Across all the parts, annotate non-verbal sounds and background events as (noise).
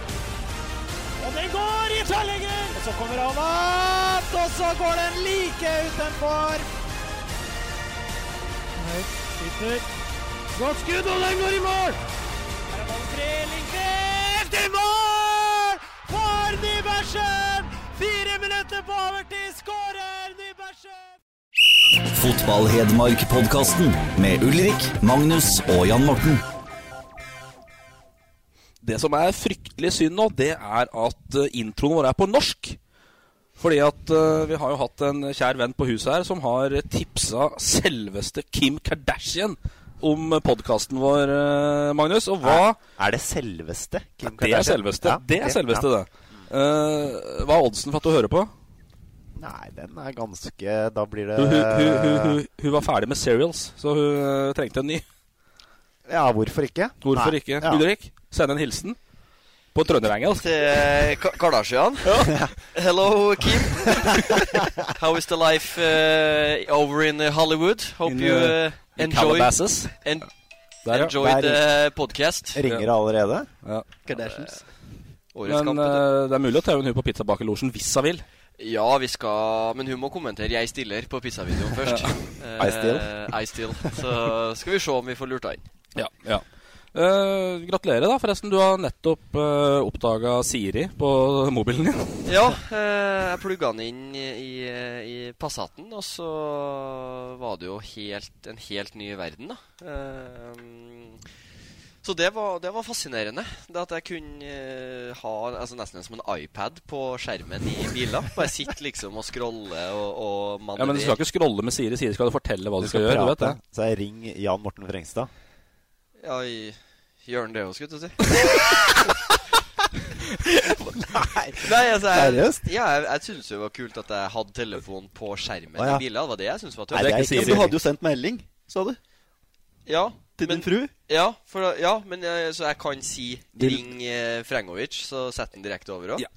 Og den går i tverrlegger! Og så kommer han opp, og så går den like utenfor. Høyt skyter. Godt skudd, og den går i mål! Her er ballen fri. Lindqvist i mål! For Nybergsen! Fire minutter på overtid skårer Nybergsen! Fotball-Hedmark-podkasten med Ulrik, Magnus og Jan Morten. Det som er fryktelig synd nå, det er at eh, introen vår er på norsk. Fordi at eh, vi har jo hatt en kjær venn på huset her som har tipsa selveste Kim Kardashian om podkasten vår, eh, Magnus. Og hva Er det selveste? Kim Det er Kardashian? selveste, Ja, det. er selveste ja. det Eh, Hva er oddsen for at du hører på? Nei, den er ganske Da blir det Hun, hun, hun, hun, hun, hun var ferdig med serials, så hun eh, trengte en ny. Ja, hvorfor ikke? Hvorfor Nei, ikke? ja. Ulrik, send en hilsen. På trønderengelsk. Til eh, Ka- Kardashian. Hello, Kim. (laughs) How is the life uh, over in uh, Hollywood? Hope In, eh, you uh, I enjoy, Calabasas. en Der, ja. enjoy Der, the podcast. Ringer det allerede? Kardashians. Årets Men kamp. vet eh, det er mulig å taue en hun på pizzabakerlosjen hvis hun vil. du. Ja, vi skal Men hun må kommentere 'Jeg stiller' på pizzavideoen først. Eh, I still. I still. Så skal vi se om vi får lurt henne inn. Ja, ja. Eh, gratulerer, da, forresten. Du har nettopp uh, oppdaga Siri på (laughs) mobilen din. Ja, eh, jeg plugga den inn i, i Passaten, og så var det jo helt, en helt ny verden, da. Eh, så det var, det var fascinerende. Det at jeg kunne eh, ha altså nesten som en iPad på skjermen i biler. Bare sitte liksom og scrolle og, og Ja, Men du skal ikke scrolle med Siri. Siri skal du fortelle hva du, skal, gjøre. du vet det. Så jeg ring Jan Morten Frengstad. Ja, i- Gjør den det òg, skulle jeg til å si. Nei, altså, jeg, Seriøst? Ja, jeg, jeg syntes jo det var kult at jeg hadde telefonen på skjermen Å, ja. i biler. Det var det jeg syntes var Nei, tøft. det er ikke Siri. Siri. jo sendt melding, sa du. Ja, Til Mm. men- fru. Ja, for, da- ja men jeg, så jeg kan si ring eh, Frengovic, så setter den direkte over òg. Ja.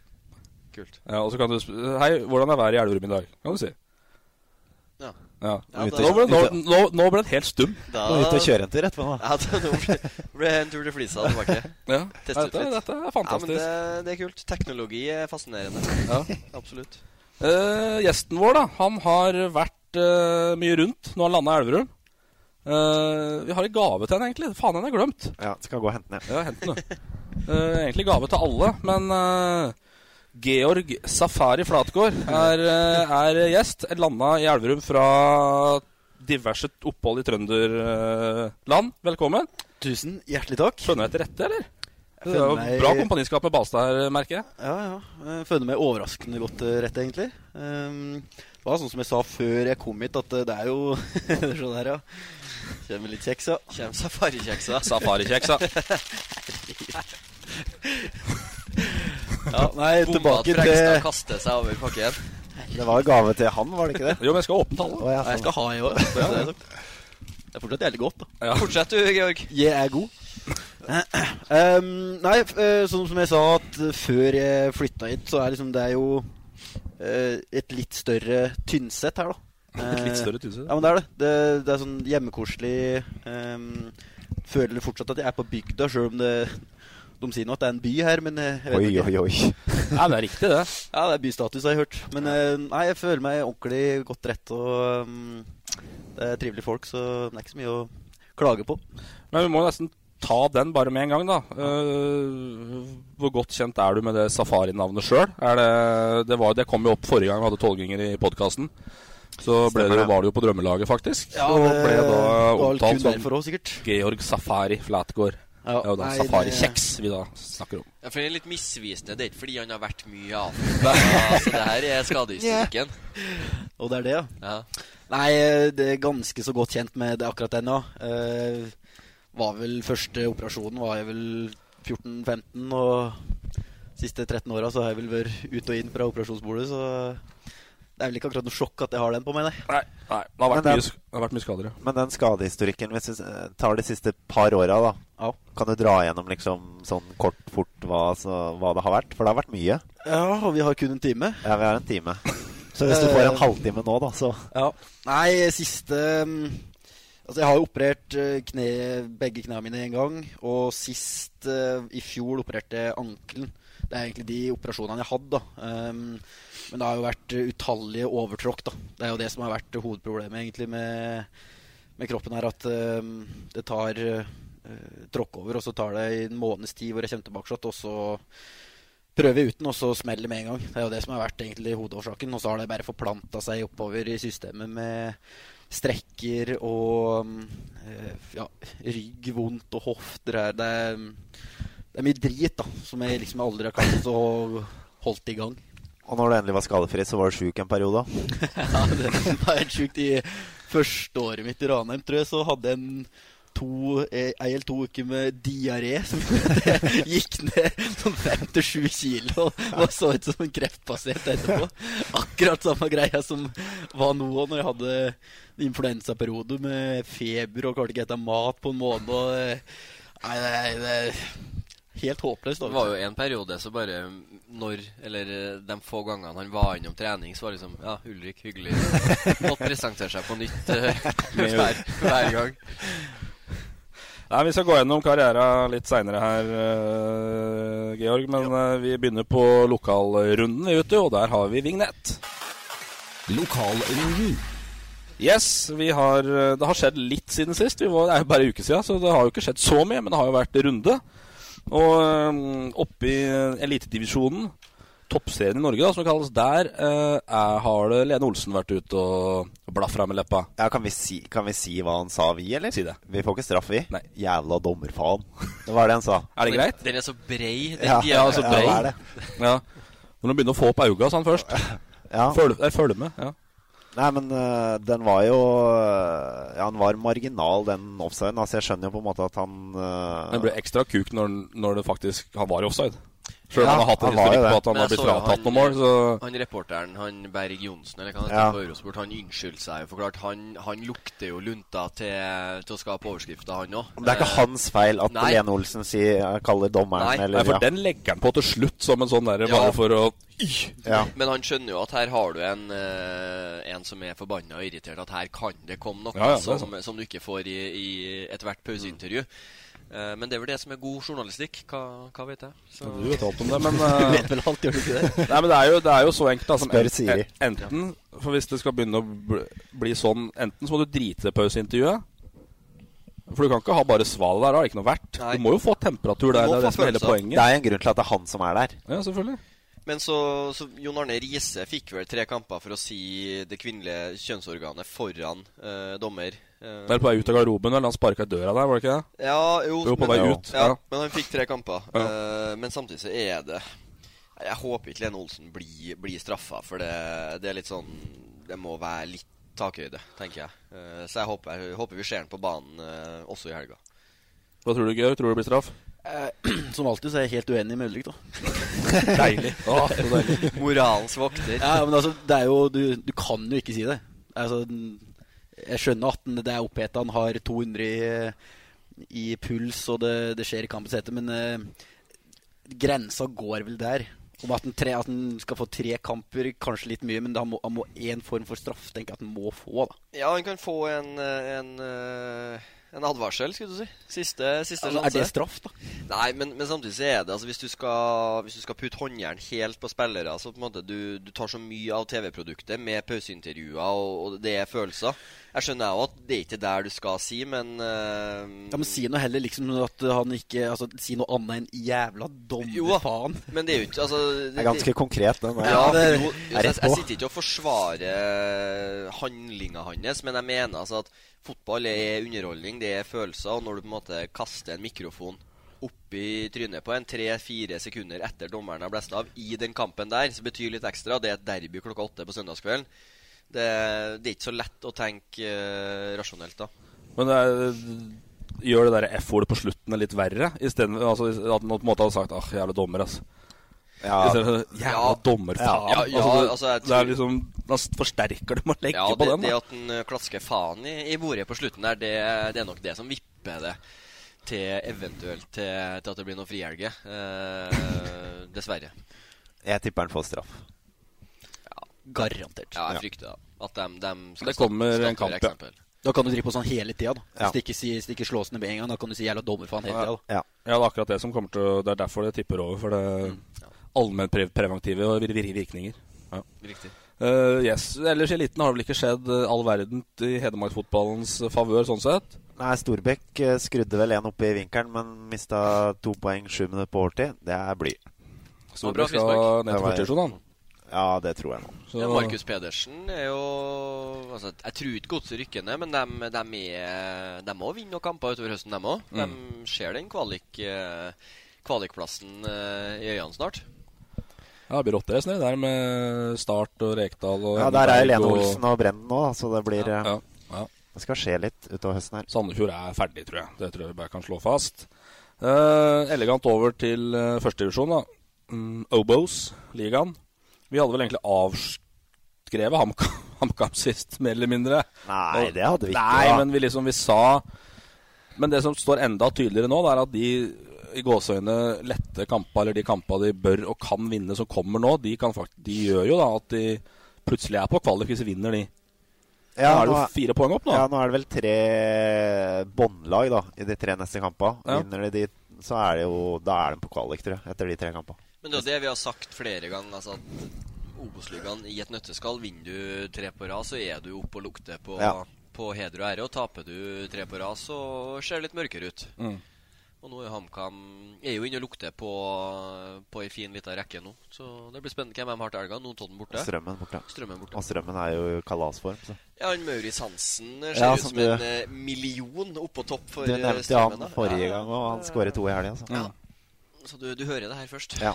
Kult. Ja, og så kan du sp Hei, hvordan er været i Elverum i dag? Kan du si. Ja. Ja. Ja, Ute- Nå, ble, nå, ute- nå, nå ble den helt stum. Da Ah. Må ut og kjøre en tur etterpå, nå. (laughs) Ja, da, nå ble, ble det en tur til Flisa tilbake. Ja. Testet Dette, litt. dette er Ja, men fantastisk. det, det er kult. Teknologi er fascinerende. Ja. Absolutt. Eh, gjesten vår, da, han har vært eh, mye rundt. Nå har han landa i Elverum. Eh, vi har en gave til henne, egentlig. Faen, den har jeg glemt. Ja, skal gå og hente den hjem. Ja, hent den, du. Eh, egentlig gave til alle, men eh, Georg Safari Flatgård er, eh, er gjest. Landa i Elverum fra diverse opphold i trønderland. Velkommen. Tusen hjertelig takk. Skjønner jeg til rette, eller? Det er føler jo meg- bra kompaniskap med Balstad her, merker jeg. Ja, ja. Jeg føler meg overraskende godt eh, rett, egentlig. Ehm, Det var sånn som jeg sa før jeg kom hit, at eh, det er jo (laughs) Sånn her, ja. Kjenner litt kjeks, ja. Kjem safarikjeksa. Safarikjeksa. ja. Nei, Bomba at tilbake Fregstad til kaster seg over pakken. Det var gave til han, var (laughs) det ikke det? Jo, men jeg skal åpne tallet. Å, ja, Jeg faen. skal ha, jeg òg. Det er fortsatt jævlig godt, da. Ja. Fortsett du, Georg. Jeg er god. (clears throat) Ehm, nei, f- eh, sånn som jeg sa at eh, før jeg flytta hit, så er liksom det er jo eh, et litt større Tynset her, da. (laughs) Et litt Eh, større tuse. Ja, men det er det. Det, det er sånn hjemmekoselig. ehm, føler fortsatt at jeg er på bygda, sjøl om det de sier nå at det er en by her, men eh, jeg vet Oi, ikke. oi, oi. Ja, det er riktig, det. Ja, det er bystatus, har jeg hørt. Men eh, nei, jeg føler meg ordentlig godt rett, og mm, ehm, det er trivelige folk, så det er ikke så mye å klage på. Men vi må jo nesten ta den bare med en gang, da. Eh, hvor godt kjent er du med det safari-navnet sjøl? Det, det, var- det kom jo opp forrige gang vi hadde tolvgringer i podkasten. Så ble Stemmer dere, det. var det jo på drømmelaget, faktisk. Ja, og det ble da var vel kun omtalt som derfor også, sikkert. Georg Safari Flatgård. Ja, Det er jo da nei, det- safarikjeks vi da snakker om. Ja, for det er litt misvisende. Det er ikke fordi han har vært mye i (laughs) Afrika. altså, det her er skadehistorikken. Og det er det, ja. Ja. Nei, det er ganske så godt kjent med det akkurat ennå. Eh, var vel første operasjonen var jeg vel 14-15, og siste 13 åra så har jeg vel vært ut og inn fra operasjonsbordet, så det er vel ikke akkurat noe sjokk at jeg har den på meg, nei. Nei, nei det, har vært Men mye, det- sk- det har vært mye skader, ja. Men den skadehistorikken, hvis vi s- eh, tar de siste par åra, da. Ja. Kan du dra gjennom liksom sånn kort fort hva, så, hva det har vært? For det har vært mye. Ja, og vi har kun en time. Ja, vi har en time. Eh, Så hvis du får en halvtime nå, da, så Ja. Nei, siste mm, Altså, jeg har jo operert eh, kne, begge knærne mine en gang. Og sist eh, i fjor opererte jeg ankelen. Det er egentlig de operasjonene jeg hadde, da. Um, men det har jo vært eh, utallige overtråkk, da. Det er jo det som har vært eh, hovedproblemet, egentlig, med, med kroppen her. At um, det tar eh, tråkk over, og så tar det en måneds tid hvor jeg kommer tilbakeslått, og så prøve uten, og så smeller det med en gang. Det er jo det som har vært egentlig hovedårsaken. Og så har det bare forplanta seg oppover i systemet med strekker og mm, eh, ja, rygg vondt og hofter her. Det er, det er mye drit da, som jeg liksom aldri har klart å holdt i gang. Og når du endelig var skadefri, så var du sjuk en periode. da. Ja, det var helt sjukt. I første året mitt i Ranheim, tror jeg, så hadde jeg en to, eh, ei eller to uker med diaré. Som (laughs) jeg gikk ned sånn fem til sju kilo og var så ut som en kreftpasient etterpå. Akkurat samme greia som var nå òg, når jeg hadde en influensaperiode med feber og klarte ikke å spise mat på en måned. Og, eh, nei, nei, det er helt håpløst. da. Det var jo en periode så bare mm, når Eller eh, de få gangene han var innom trening, så var det liksom Ja, Ulrik, hyggelig. Måtte presentere seg på nytt eh, hver, hver gang. Nei, Vi skal gå gjennom karriera litt seinere her, eh, Georg. Men eh, vi begynner på lokalrunden, vi, vet du. Og der har vi vignett. Lokalrunden. Yes, vi har, eh, det har skjedd litt siden sist. Vi var, det er jo bare en uke siden, så det har jo ikke skjedd så mye. Men det har jo vært runde. Og eh, oppe i elitedivisjonen, toppserien i Norge, da, som det kalles der, eh, er, har det Lene Olsen vært ute og blafra med leppa. Ja, kan vi, si, kan vi si hva han sa, vi, eller? Si det. Vi får ikke straff, vi. Nei. Jævla dommerfaen. Det var det han sa. Er det greit? Den er så brei. Den Ja, dialekten. ja, altså, Ja, brei. det er det. Ja. Når du begynner å få opp auga sånn først. Ja. Følg, nei, følg med. ja Nei, men øh, den var jo øh, Ja, han var marginal, den offsiden. Altså, jeg skjønner jo på en måte at han øh, Men det ble ekstra kuk når, han- når det faktisk han var i offside. Selv om Ja, han har hatt en han var jo historikk på at han det. Men har jeg blitt så jo fratatt han- noen mål, så Han reporteren, han Berg Johnsen, eller hva han Ja. heter på Eurosport, han unnskyldte seg jo. For klart, han, han lukter jo lunta til, til å skape overskrifter, han òg. Det er ikke hans feil at Nei. Lene Olsen sier, eh, kaller dommeren Nei. eller Nei, for ja. den legger han på til slutt som en sånn derre Ja. bare for å Ja. Men han skjønner jo at her har du en, eh, en som er forbanna og irritert. At her kan det komme noe Ja, ja, det er som, som du ikke får i, i ethvert pauseintervju. Mm. Eh, men det er vel det som er god journalistikk. Hva, hva vet jeg? Så, Du vet alt om det, (laughs) men Du eh, vet vel alt, gjør du ikke det? Nei, men det er jo, det er jo så enkelt da, som Spør en- Siri. Enten, for hvis det skal begynne å bl- bli sånn Enten så må du drite i pauseintervjuet. For du kan ikke ha bare sval der, det har ikke noe verdt. Nei. Du må jo få temperatur der, Du må det få er det som er hele følelser. Det poenget. er jo en grunn til at det er han som er der. Ja, selvfølgelig. men så, så Jon Arne Riise fikk vel tre kamper for å si det kvinnelige kjønnsorganet foran eh, dommer. Eh, Vel på vei ut av garderoben, eller han sparka i døra der, var det ikke det? Ja, jo, Jo, på men- vei ut, Ja, ja. Men han fikk tre kamper. Ja. Eh, men samtidig så er det Jeg håper ikke Lene Olsen blir, blir straffa, for det, det er litt sånn Det må være litt takhøyde, tenker jeg. Eh, så jeg håper, jeg håper vi ser han på banen eh, også i (laughs) helga. Hva tror du, Georg? Tror du det blir straff? eh, (clears throat) Som alltid så er jeg helt uenig med Ulrik, da. Deilig. Åh, så deilig. Moralens vokter. Ja, men altså, det er jo Du, du kan jo ikke si det. Altså, den- jeg skjønner at den, det er oppheta. Han har 200 i, i puls, og det, det skjer i kampens hete, men eh, grensa går vel der. Om at han, tre, at han skal få tre kamper, kanskje litt mye, men han må- han må én form for straff. tenker jeg at han må få, da. Ja, han kan få en, eh, en, eh, en advarsel, skulle du si. Siste, siste Altså, er sjanse. det straff, da? Nei, men, men samtidig så er det altså Hvis du skal, hvis du skal putte håndjern helt på spillere, så på en måte du, du tar så mye av TV-produktet med pauseintervjuer, og, og det er følelser. Jeg skjønner jo at det er ikke der du skal si, men eh, Ja, men Si noe heller liksom at han ikke altså, Si noe annet enn 'jævla Jo da. dommerfaen'. Men det er jo ikke altså, Det er ganske konkret, den der. Ja, det- jo, jo, er jeg, rett jeg på. sitter ikke og forsvarer handlinga hans, men jeg mener altså at fotball er underholdning, det er følelser. Og når du på en måte kaster en mikrofon opp i trynet på en tre-fire sekunder etter dommeren har blæst av i den kampen der, så betyr litt ekstra. Det er et derby klokka åtte på søndagskvelden. Det, det er ikke så lett å tenke eh, rasjonelt, da. Men det er, gjør det der F-ordet på slutten litt verre? Isteden, altså, at man på en måte hadde sagt 'ah, jævla dommer', altså. Ja. Istedenfor, jævla Ja. dommer, faen. Ja, ja, altså, det, altså, jeg det tror- er liksom, da forsterker det med å legge Ja, på det, den. det Da. at den eh, klasker faen i, i bordet på slutten der, det, det er nok det som vipper det til eventuelt til, til at det blir noe frihelge. Eh, dessverre. Jeg tipper han får straff. Garantert. Ja, jeg frykter da, at dem, dem skal Det kommer skape- skape en kamp, ja. eksempel. Da kan du drive på sånn hele tida. da. Ja. Hvis det ikke, si, hvis det ikke slås ned med en gang, da kan du si 'jævla dommerfaen' hele tida. Ja. Ja, det er akkurat det som kommer til å Det er derfor det tipper over. For det Mm. allmennpreventive og vir- vir- virkninger. Ja. Riktig. Eh, yes, Ellers i eliten har det vel ikke skjedd eh, all verden i Hedmarksfotballens eh, favør, sånn sett. Nei, Storbekk eh, skrudde vel én oppe i vinkelen, men mista to poeng sju minutter på overtid. Det er bly. var bra Storbekk skal frispark. ned Det til var- førstevisjonen, Ja, det tror jeg nå. han. Ja, Så- Markus Pedersen er jo altså, Jeg tror ikke godset rykker ned, men dem, dem, er, dem må vinne noen kamper utover høsten, dem òg. Mm. De ser den kvalik, eh, kvalikplassen eh, i øynene snart. Ja, det blir rotterace nedi der med Start og Rekdal og Ja, Der er Henneberg Lene og- Olsen og Brennen nå, da, så det blir eh, Ja, ja. Det skal skje litt utover høsten her. Sandefjord er ferdig, tror jeg. Det tror jeg vi bare kan slå fast. Eh, elegant over til eh, førstedivisjon, da. Mm, Obos, ligaen. Vi hadde vel egentlig avskrevet HamKam (laughs) HamKam sist, mer eller mindre. Nei, Og- det hadde vi ikke. Nei, da. men vi liksom, vi sa Men det som står enda tydeligere nå, det er at de i gåseøyne lette kamper, eller de kampene de bør og kan vinne som kommer nå, de, kan fakt de gjør jo da at de plutselig er på kvalik hvis de vinner de. ja, da er det nå, jo fire poeng opp nå. ja, nå er det vel tre båndlag da, i de tre neste kampene. Ja. Vinner de de, så er det jo Da er de på kvalik, tror jeg, etter de tre kampene. Men det er jo det vi har sagt flere ganger, altså at Obos-ligaen i et nøtteskall vinner du tre på rad, så er du oppe og lukter på, Ja. på heder og ære. Og taper du tre på rad, så ser det litt mørkere ut. Mm. Og nå er jo HamKam er jo inne og lukter på, på ei en fin lita rekke nå. Så det blir spennende hvem de har til helga. Notodden borte. Strømmen borte. Strømmen borte. Og Strømmen er jo i kalasform, så. Ja, han Maurits Hansen eh, ser Ja, ut som som en du- eh, million oppå topp for Du eh, nevnte Strømmen, han da. forrige Ja. gang, og han skårer to i helga, altså. Ja. Så du, du hører det her først. Ja.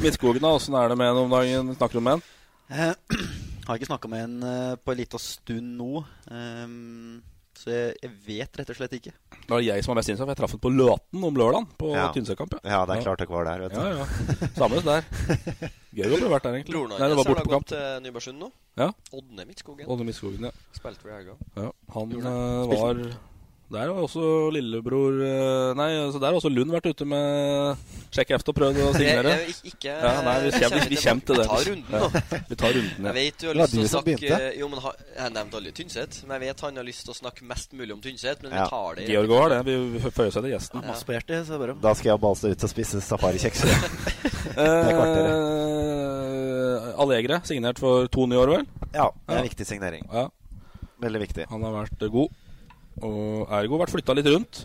Midtskogen, da, åssen er det med den om dagen? Snakker du med den? Eh, (clears throat) har ikke snakka med en eh, på en liten stund nå. ehm, så jeg, jeg vet rett og slett ikke. Det var jeg som var mest innsatt, for jeg traff ham på Løten om lørdagen. På Ja. Tynset-kamp. Ja, det er klart det var der, vet du. Ja, ja. Samles (laughs) der. Gøy å bli vært der, egentlig. Broren Nei, det hans var har da borte på gått kamp. til Nybergsund nå. Ja. Ådne Midtskogen. Odde Midtskogen, ja. Spilte vel i helga. ja. Han eh, var Der var også lillebror eh, Nei, så der har også Lund vært ute med sjekk efter og prøvd (laughs) å signere. Jeg- jeg- ikke Ja, nei, vi kommer, vi, vi kommer til det. Jeg tar runden, da. Ja, vi tar Jeg runden, ja. vet du har (laughs) Det var lyst til du å som snakke begynte. Jo, men ha- Jeg nevnte aldri Tynset, men jeg vet han har lyst til å snakke mest mulig om Tynset. Men Ja. vi tar det Georg var det. Vi vi føyer seg til gjesten. Masse på hjertet, så jeg bare Da skal jeg og Balstad ut og spise safarikjeks. (laughs) Eh, Allegre, signert for to nye år, vel? Ja, det er en viktig signering. Ja. Veldig viktig. Han har vært eh, god, og er god. Vært flytta litt rundt.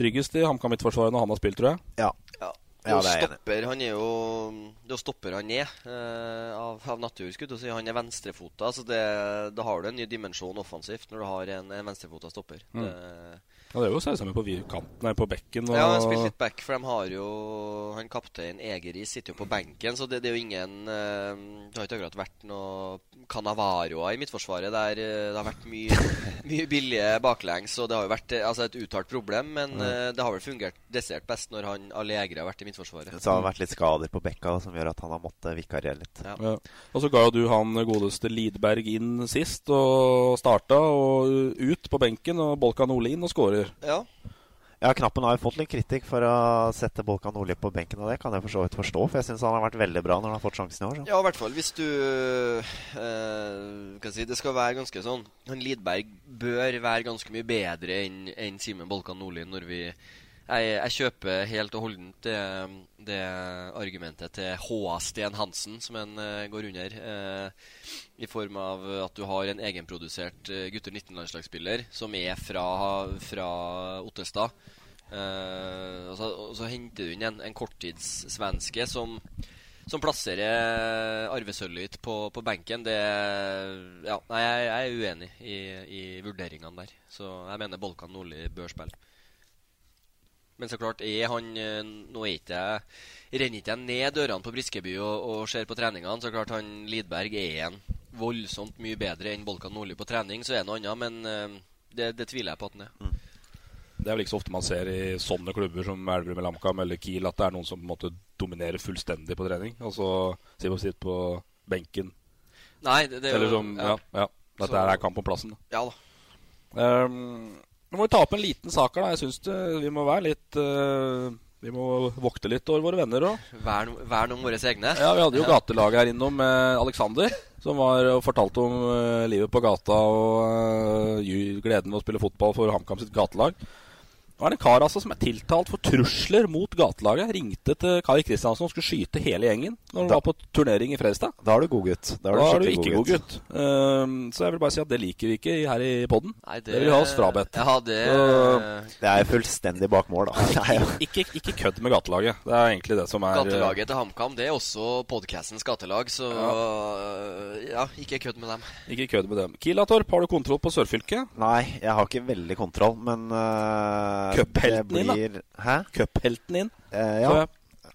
Tryggest i HamKam midtforsvaret når han har spilt, tror jeg. Ja. Ja. Ja, Og det stopper, er jeg enig i. han er jo Det å stopper han er eh, av, av naturskudd. Og så er han er venstrefota, så det, da har du en ny dimensjon offensivt når du har en, en venstrefota stopper. Mm. Det, Han drev jo og sausa med på vi- kanten, nei, på bekken. Og... Ja, han har spilt litt back, for de har jo Han kaptein Egeris sitter jo på benken, så det, det er jo ingen eh, Det har ikke akkurat vært noe Canavaroa i Midtforsvaret. Der eh, det har vært mye, mye billige baklengs, og det har jo vært eh, altså, et uttalt problem. Men eh, det har vel fungert desidert best når han Allegre har vært i Midtforsvaret. Så har det vært litt skader på bekka som gjør at han har måttet vikariere litt. Ja. Og så ga jo du han godeste Lidberg inn sist, og starta og ut på benken. Og Bolkan Ole inn og skårer. Ja, Ja, Knappen har jo fått litt kritikk for å sette Bolkan Nordli på benken, og det kan jeg for så vidt forstå, for jeg syns han har vært veldig bra når han har fått sjansen i år. Så. Ja, i hvert fall hvis du eh, kan si, Det skal være ganske sånn Han Lidberg bør være ganske mye bedre enn enn Simen Bolkan Nordli når vi Jeg, jeg kjøper helt og holdent det, det argumentet til H.A. Sten Hansen, som en eh, går under. Eh, I form av at du har en egenprodusert eh, gutter 19-landslagsspiller som er fra, fra Ottestad. Eh, og, så, og så henter du inn en, en korttidssvenske som som plasserer arvesølvet på, på benken, det Ja, nei, jeg, jeg er uenig i, i vurderingene der. Så jeg mener Bolkan Nordli bør spille. Men så klart er han eh, Nå er ikke jeg renner ikke jeg ned dørene på Briskeby og, og ser på treningene. Så klart han Lidberg er en voldsomt mye bedre enn Bolkan Nordli på trening, så er det noe annet. Men eh, det, det tviler jeg på at han er. Mm. Det er vel ikke så ofte man ser i sånne klubber som Elverum eller Amcam eller Kiel, at det er noen som på en måte dominerer fullstendig på trening. Og så sitter man sitter på benken. Nei, det, det er jo Eller som Ja. ja. Dette Så- er kamp om plassen. da. ja da. Ehm, Nå må vi ta opp en liten sak her. da. Jeg synes det- Vi må være litt eh, Vi må vokte litt over våre venner òg. Vern, vern om våre egne. Ja, vi hadde jo gatelaget her innom med Alexander, som var og fortalte om eh, livet på gata og eh, ju- gleden ved å spille fotball for HamKam sitt gatelag. Nå er det en kar altså som er tiltalt for trusler mot gatelaget. Ringte til Kari Kristiansen og skulle skyte hele gjengen når hun Da- var på turnering i Fredrikstad. Da er du godgutt. Da er du Da er du skikkelig ikke god gutt. Ehm, så jeg vil bare si at det liker vi ikke i- her i poden. Nei, Det vil vi ha oss frabedt. Ja, det Så- Det er fullstendig bak mål, (laughs) da. Det er jo (laughs) Ikke, ikke kødd med gatelaget. Det er egentlig det som er eh, Gatelaget til HamKam det er også podkastens gatelag, så ja, ikke kødd med dem. eh, Ikke kødd med dem. Kilatorp, har du kontroll på sørfylket? Nei, jeg har ikke veldig kontroll, men uh, Cuphelten din, da. Hæ? Cuphelten inn. Eh, Så ja. jeg-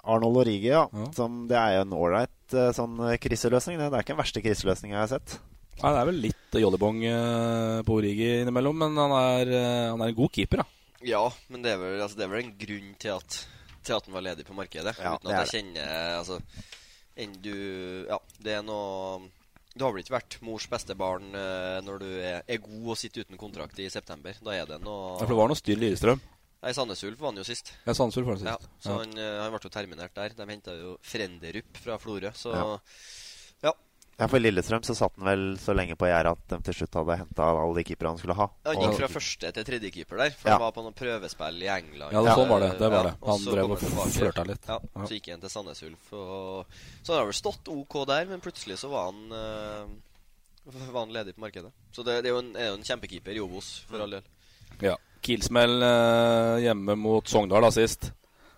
Arnold Origi, ja. Ja. Som, det er jo en ålreit eh, sånn eh, kriseløsning. Det, det er ikke den verste kriseløsninga jeg har sett. Nei, det er vel litt jollibong eh, på Origi innimellom, men han er, eh, han er en god keeper, da. Ja, men det er vel, altså, det er vel en grunn til at, til at den var ledig på markedet. Ja, uten det at er jeg kjenner Altså, enn du Ja, det er noe Du har vel ikke vært mors beste barn eh, når du er, er god og sitter uten kontrakt i september. Da er det noe For det var noe styr i Lillestrøm. Nei, Sandnes Ulf vant jo sist. Jeg sanser for det Ja, sist. så Ja. Han, eh, han ble jo terminert der. De henta jo Frenderup fra Florø, så Ja. Ja, For Lillestrøm så satt han vel så lenge på gjerdet at de til slutt hadde henta alle de keeperne han skulle ha. Han Og- gikk fra første til tredje keeper der, for Ja. han var på noen prøvespill i England. Ja, det- sånn var det, det var det. og Han så drev kom og tilbake. flørta litt. Ja, Ja. Så gikk han til Sandnes Ulf. Og... Så han har vel stått OK der, men plutselig så var han eh, Var han ledig på markedet. Så det, det er, jo en, er jo en kjempekeeper i Obos, for all del. Ja. Kiel-smell eh, hjemme mot Sogndal da sist.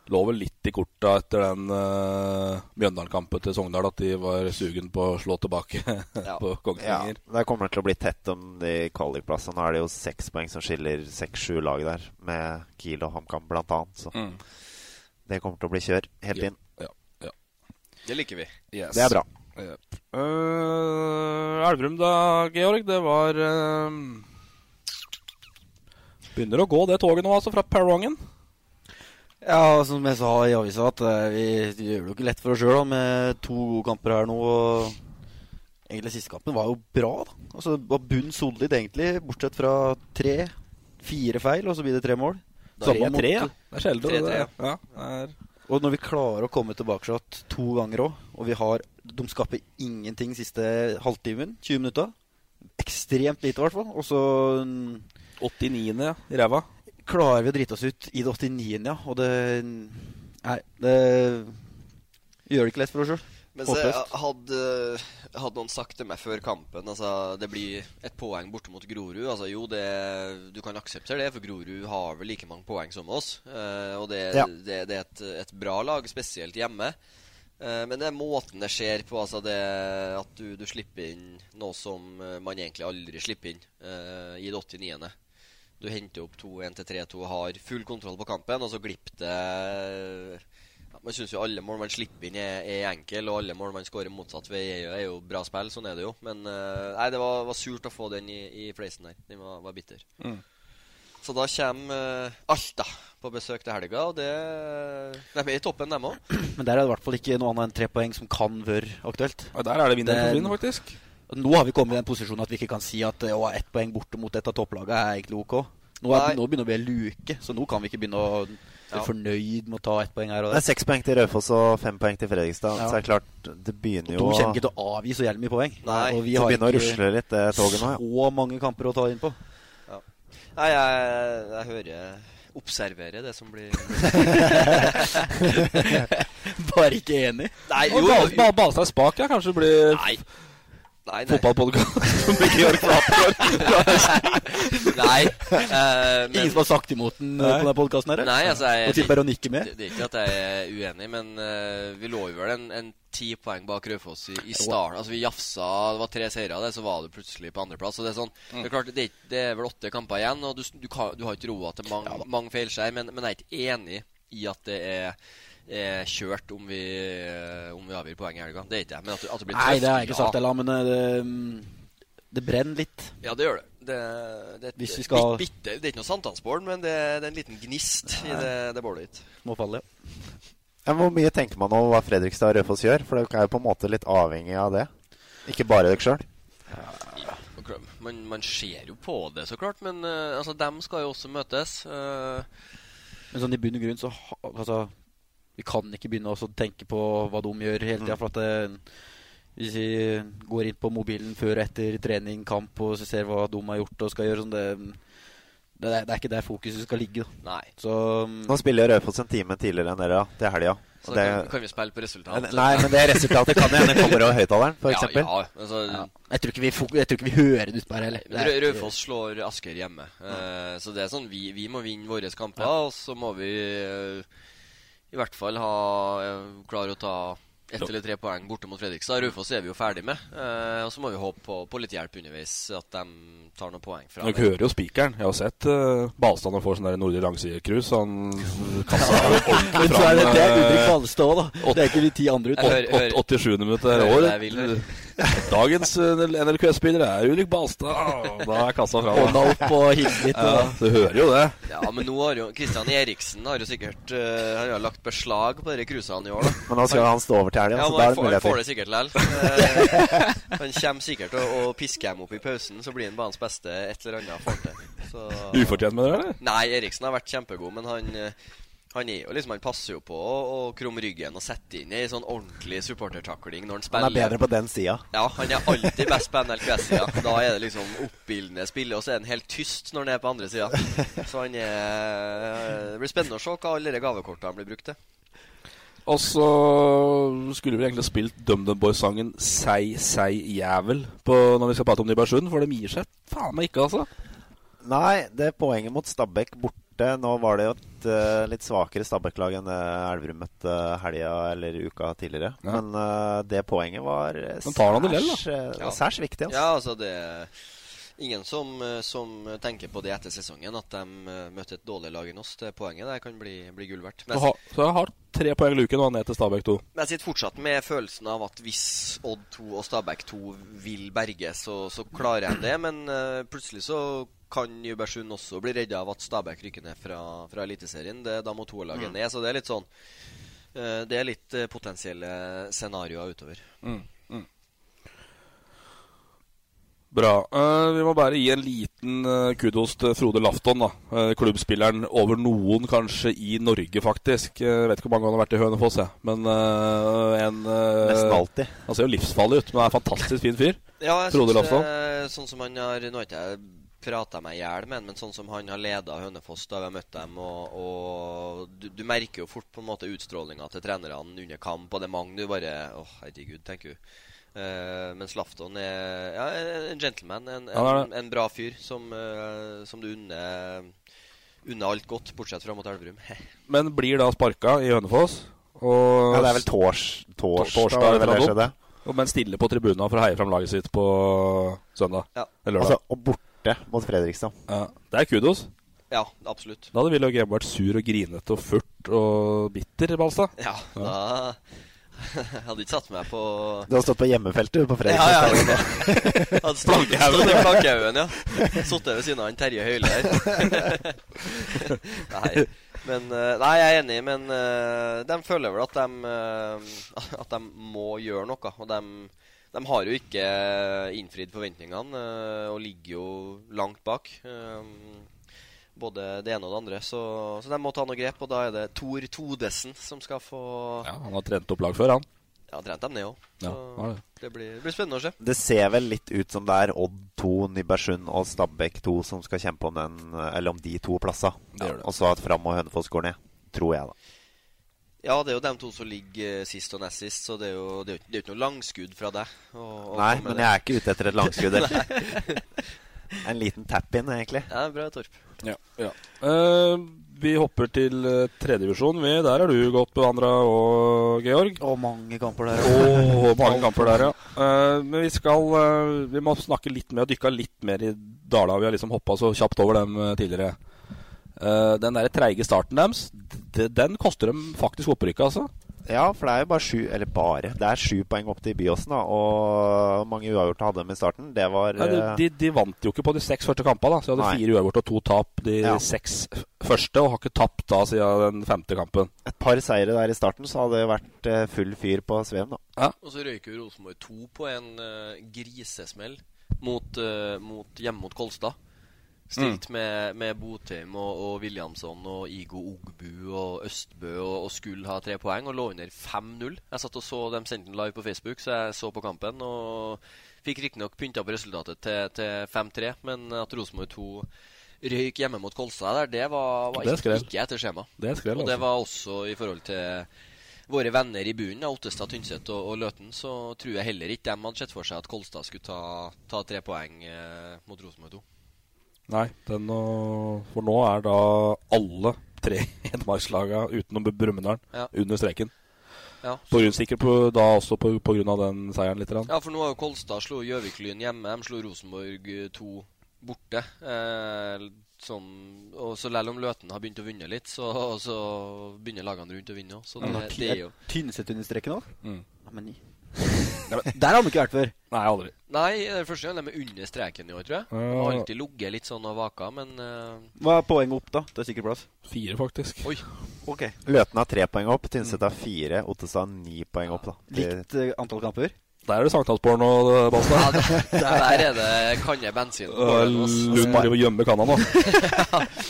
Lå vel litt i korta etter den eh, Mjøndalen-kampen til Sogndal at de var sugen på å slå tilbake (laughs) Ja. på Ja, Kongsvinger. Der kommer det til å bli tett om de kvalikplassene. Nå er det jo seks poeng som skiller seks-sju lag der, med Kiel og HamKam blant annet. Så Mm. det kommer til å bli kjør helt Ja. inn. Det liker vi. Yes. Det er bra. Yep. Eh, Elverum da, Georg. Det var eh, Begynner å gå det toget nå, altså, fra perrongen. Ja, altså, som jeg sa i avisa, at eh, vi gjør det jo ikke lett for oss sjøl med to gode kamper her nå. og Egentlig siste kampen var jo bra. da. Altså, Det var bunn solid, egentlig, bortsett fra tre. Fire feil, og så blir det tre mål. Da er det Samme mot- Tre, ja. Det er sjelden. det 3-3, der. Ja, det er Og når vi klarer å komme tilbakeshot to ganger òg, og vi har De skaper ingenting siste halvtimen, 20 minutta. Ekstremt lite, i hvert fall. Og så mm, 89. ja, i ræva. klarer vi å drite oss ut i det 89. ja. Og det Nei, det gjør det ikke lett for oss sjøl. Men så eh, Håpløst. hadde, hadde noen sagt til meg før kampen Altså, det blir et poeng borte mot Grorud. Altså, jo, det, du kan akseptere det, for Grorud har vel like mange poeng som oss. Eh, og det, Ja. det, det er et, et bra lag, spesielt hjemme. Eh, men det er måten det skjer på. Altså det at du, du slipper inn noe som eh, man egentlig aldri slipper inn eh, i det 89. Du henter opp 2-1 til 3-2, har full kontroll på kampen, og så glipper det ja, Man syns jo alle mål man slipper inn, er, er enkel, og alle mål man skårer motsatt ved, er jo, er jo bra spill. Sånn er det jo. Men eh, nei, det var, var surt å få den i, i fleisen der. Den var, var bitter. Mm. Så da kommer eh, Alta på besøk til helga, og det De er i toppen, dem òg. Men der er det i hvert fall ikke noe annet enn tre poeng som kan være aktuelt. Og der er det vinneren Den- som vinner, faktisk. Nå har vi kommet i den posisjonen at vi ikke kan si at eh, å, ett poeng borte mot et av topplagene er egentlig OK. Nå, Nei. er, nå begynner det å bli luke, så nå kan vi ikke begynne å Ja. være fornøyd med å ta ett poeng her og Det der. er seks poeng til Raufoss og fem poeng til Fredrikstad. Ja. Så er det klart, det begynner De jo kommer ikke til å avgi så jævlig mye poeng. Nei, og vi Det har begynner å ikke rusle litt, det toget nå. ja. så mange kamper å ta inn på. Nei, jeg, jeg hører observere det som (laughs) blir Bare ikke enig. Nei, jo, Og Bal- Bal- Balstad Spak ja, kanskje blir Nei. Nei, nei. fotballpodkast med Georg Flatgård. (laughs) nei. eh, men, Ingen som har sagt imot den eh, på denne podkasten her? eller? nei, altså jeg, Og tipper å nikke med? Det, det er ikke at jeg er uenig, men eh, vi lå jo vel en, en ti poeng bak Raufoss i, i starten. Altså Vi jafsa, det var tre seire av det, så var du plutselig på andreplass. Så det er sånn Mm. Det er klart, det er, ikke- det er vel åtte kamper igjen, og du, s- du, kan, du har ikke roa til mange, mange feilskjær, men, men jeg er ikke enig i at det er er kjørt om vi, eh, om vi avgir poeng i helga. Det er ikke jeg. Men at, du- at det blir Nei, tøft, det har jeg ikke sagt ja. heller, men eh, det, det brenner litt. Ja, det gjør det. Det, det, er et Hvis vi skal- bit- bitte, det er ikke noe sankthansbål, men det, det er en liten gnist i det, det bålet ditt. Må falle, ja. Ja, men hvor mye tenker man over hva Fredrikstad og Raufoss gjør? For dere er jo på en måte litt avhengig av det. Ikke bare dere sjøl. Og klart, Man, man ser jo på det, så klart, men eh, altså, dem skal jo også møtes. eh, Men sånn i bunn og grunn så ha- Altså, vi kan ikke begynne også å tenke på hva de gjør hele Mm. tida. For at det, hvis vi går inn på mobilen før og etter trening, kamp, og så ser hva de har gjort og skal gjøre sånn, det, det, er- det er ikke der fokuset skal ligge. Da. nei. Så Nå spiller Raufoss en time tidligere enn dere da, til helga. Så Og det- kan, kan vi spille på resultat. Nei, men det resultatet kan jo hende kommer over høyttaleren, (laughs) f.eks. ja, ja, altså, ja. jeg, tror ikke vi fok jeg tror ikke vi hører det utpå her heller. Men Det er Rau- ikke- Raufoss slår Asker hjemme. Eh, så det er sånn, vi, vi må vinne våre kamper, og så må vi eh, i hvert fall ha eh, klare å ta ett eller tre poeng borte mot Fredrikstad. Raufoss er vi jo ferdig med. eh, og så må vi håpe på, på litt hjelp underveis, at de tar noen poeng fra (laughs) Dere hører jo spikeren. Jeg har sett uh, Balstad når han får sånn der nordlig langsidecruise. så (laughs) Han kassa jo ordentlig eh, Men så er det, det er Ulrik fram. Balstad òg, da. Det er ikke de ti andre ut. Jeg hører- hører- 87. minutt her Hører det jeg vil, år. (laughs) Dagens eh, NRK-spillere er Ulrik (laughs) Balstad. Og Da er kassa fram. Hånda opp og hilse litt. Ja, Og, du hører jo det. Ja, men nå har jo Kristian Eriksen har jo sikkert eh, Han har lagt beslag på disse cruisene i år, da. Men da skal han stå over til helga, Ja, så men da er han, det får, han får muligheter. det sikkert (laughs) likevel. Eh, han kommer sikkert til å, å piske dem opp i pausen, så blir han banens beste et eller annet. Får til. Så... Ufortjent, mener du? eller? Nei, Eriksen har vært kjempegod, men han eh, han er jo liksom, han passer jo på å å krumme ryggen og sette inn ei sånn ordentlig supportertakling når han Han spiller. er bedre på den sida. Ja, han er alltid best på NLQS-sida. Da er det liksom oppildende spill, og så er han helt tyst når han er på andre sida. Så han er Det blir spennende å se hva alle de gavekortene blir brukt til. Og så skulle vi egentlig spilt DumDum Boys-sangen 'Sei, sei, jævel' på, når vi skal prate om Nybergsund, for de gir seg faen meg ikke, altså. Nei, det poenget mot Stabæk borte Nå var det jo et eh, litt svakere Stabæk-lag enn det Elverum møtte helga eller uka tidligere. Ja. Men eh, det poenget var eh, Men tar han det lell, da? særs, eh, Ja. særs viktig. Altså. Ja, altså det er Ingen som, eh, som tenker på det etter sesongen, at de eh, møtte et dårligere lag enn oss. Det poenget der kan bli, bli gull verdt. Men Så, jeg, ha, så jeg har tre poeng luken og er ned til Stabæk 2. men jeg sitter fortsatt med følelsen av at hvis Odd 2 og Stabæk 2 vil berge, så, så klarer de det. Men eh, plutselig så kan Nybergsund også bli redda av at Stabæk rykker ned fra, fra Eliteserien. Det, da må toerlaget ned, så det er litt sånn eh, Det er litt eh, potensielle scenarioer utover. Bra. Eh, vi må bare gi en liten eh, kudos til Frode Lafton, da. Eh, klubbspilleren over noen, kanskje, i Norge, faktisk. Eh, vet ikke hvor mange han har vært i Hønefoss, jeg. Men eh, en eh, Nesten alltid. Han ser jo livsfarlig ut, men er en fantastisk fin fyr. Ja, jeg Frode synes Lafson. det, sånn som han har Nå har ikke jeg prata meg i hjel med han, men sånn som han har leda Hønefoss da vi har møtt dem, og, og du, du merker jo fort på en måte utstrålinga til trenerne under kamp, og det er mange du bare Å, herregud, tenker du. Eh, mens Lafton er ja, en gentleman, en, en, Han er det. en bra fyr som, eh, som du unner unner alt godt, bortsett fra mot Elverum. (laughs) Men blir da sparka i Hønefoss. Og, Ja, det er vel tors, Torsdag tors, torsdag var det eller vel det noe. skjedde. og- men stille på tribunen for å heie fram laget sitt på søndag. Ja. Eller lørdag. Altså, og borte mot Fredrikstad. ja. Det er kudos. Ja, absolutt. Da hadde Willoch Grebe vært sur og grinete og furt og bitter, Balstad. Ja, da (laughs) hadde ikke satt meg på Du har stått på hjemmefeltet du, på Ja, Fredrikstad. ja. (laughs) Han stod- stod i Plankehaugen, ja. Sittet ved siden av han Terje Høile her. (laughs) nei. Men, eh, nei, jeg er enig, men eh, de føler vel at de, eh, at de må gjøre noe. Og de, de har jo ikke eh, innfridd forventningene eh, og ligger jo langt bak. eh, Både det ene og det andre. Så, så de må ta noe grep, og da er det Tor Todesen som skal få Ja, han har trent opp lag før, han. Jeg har trent dem ned òg. Ja, har det. Det blir, det blir spennende å se. Det ser vel litt ut som det er Odd 2, Nybergsund og Stabæk 2 som skal kjempe om, den, eh, eller om de to plassene. Det gjør det. Og så at Fram og Hønefoss går ned. Tror jeg, da. Ja, det er jo dem to som ligger eh, sist og nest sist, så det er jo, det er jo, ikke- det er jo ikke noe langskudd fra deg. Å, å Nei, komme med men det. jeg er ikke ute etter et (laughs) langskudd. eller. en liten tap-in, egentlig. Ja, det er bra, Torp. Ja, ja. Eh, vi hopper til eh, tredjedivisjon. Vi- Der er du godt bevandra og Georg. Og mange kamper der. Og mange kamper der, ja. Eh, men vi skal eh, Vi må snakke litt mer og dykke litt mer i Dala. Vi har liksom hoppa så kjapt over dem eh, tidligere. Eh, den der treige starten deres, d- den koster dem faktisk opprykket, altså. Ja, for det er jo bare sju Eller bare. Det er sju poeng opp til Byåsen, da. Og hvor mange uavgjorte hadde de i starten. Det var Nei, de, eh, de, de vant jo ikke på de seks første kampene, da. Så de hadde Nei. fire uavgjort og to tap de Ja. seks f- første, og har ikke tapt da siden den femte kampen. et par seire der i starten, så hadde det vært eh, full fyr på Sveum, da. Og så røyker jo Rosenborg to på en eh, grisesmell mot, eh, mot, hjemme mot Kolstad. Stilt med, med Botheim og, og Williamson og Igo Ogbu og Østbø og, og skulle ha tre poeng og lå under 5-0. Jeg satt og så dem sendte den live på Facebook, så jeg så på kampen. og Fikk riktignok pynta på resultatet til, til 5-3, men at Rosenborg 2 røyk hjemme mot Kolstad der, det var, var Det er ikke, skrell. ikke etter skjema. Det er skrell, Og det altså. var også i forhold til våre venner i bunnen, da, Ottestad, Tynset og, og Løten, så tror jeg heller ikke dem hadde sett for seg at Kolstad skulle ta, ta tre poeng eh, mot Rosenborg 2. Nei, den og For nå er da alle tre (laughs) Hedmarkslaga utenom Brumunddal Ja. under streken. Ja. På grunn, sikkert på, da også på, på grunn av den seieren, litt. Grann. ja, for nå har jo Kolstad slo Gjøvik-Lyn hjemme, de slo Rosenborg 2 borte. Eh, som, og så Selv om Løten har begynt å vinne litt, så, så begynner lagene rundt å vinne òg. Så det, det er jo Tynset under streken òg? Mm. Men der har de ikke vært før. Nei, aldri. Nei, det er første gang de er under streken i år, tror jeg. De har Ja. alltid ligget litt sånn og vaka, men eh, Hva er poenget opp, da? Det er sikkert plass. Fire, faktisk. Oi. Ok Løten har tre poeng opp, Tynset har fire, Ottestad har ni poeng opp, da. De- Likt eh, antall kamper. Der er det eh, sankthansporno, Balstad. Ja, der, der er det kanne bensin. på bålet, ass. Altså, Lund driver og gjemmer kanna (laughs) nå.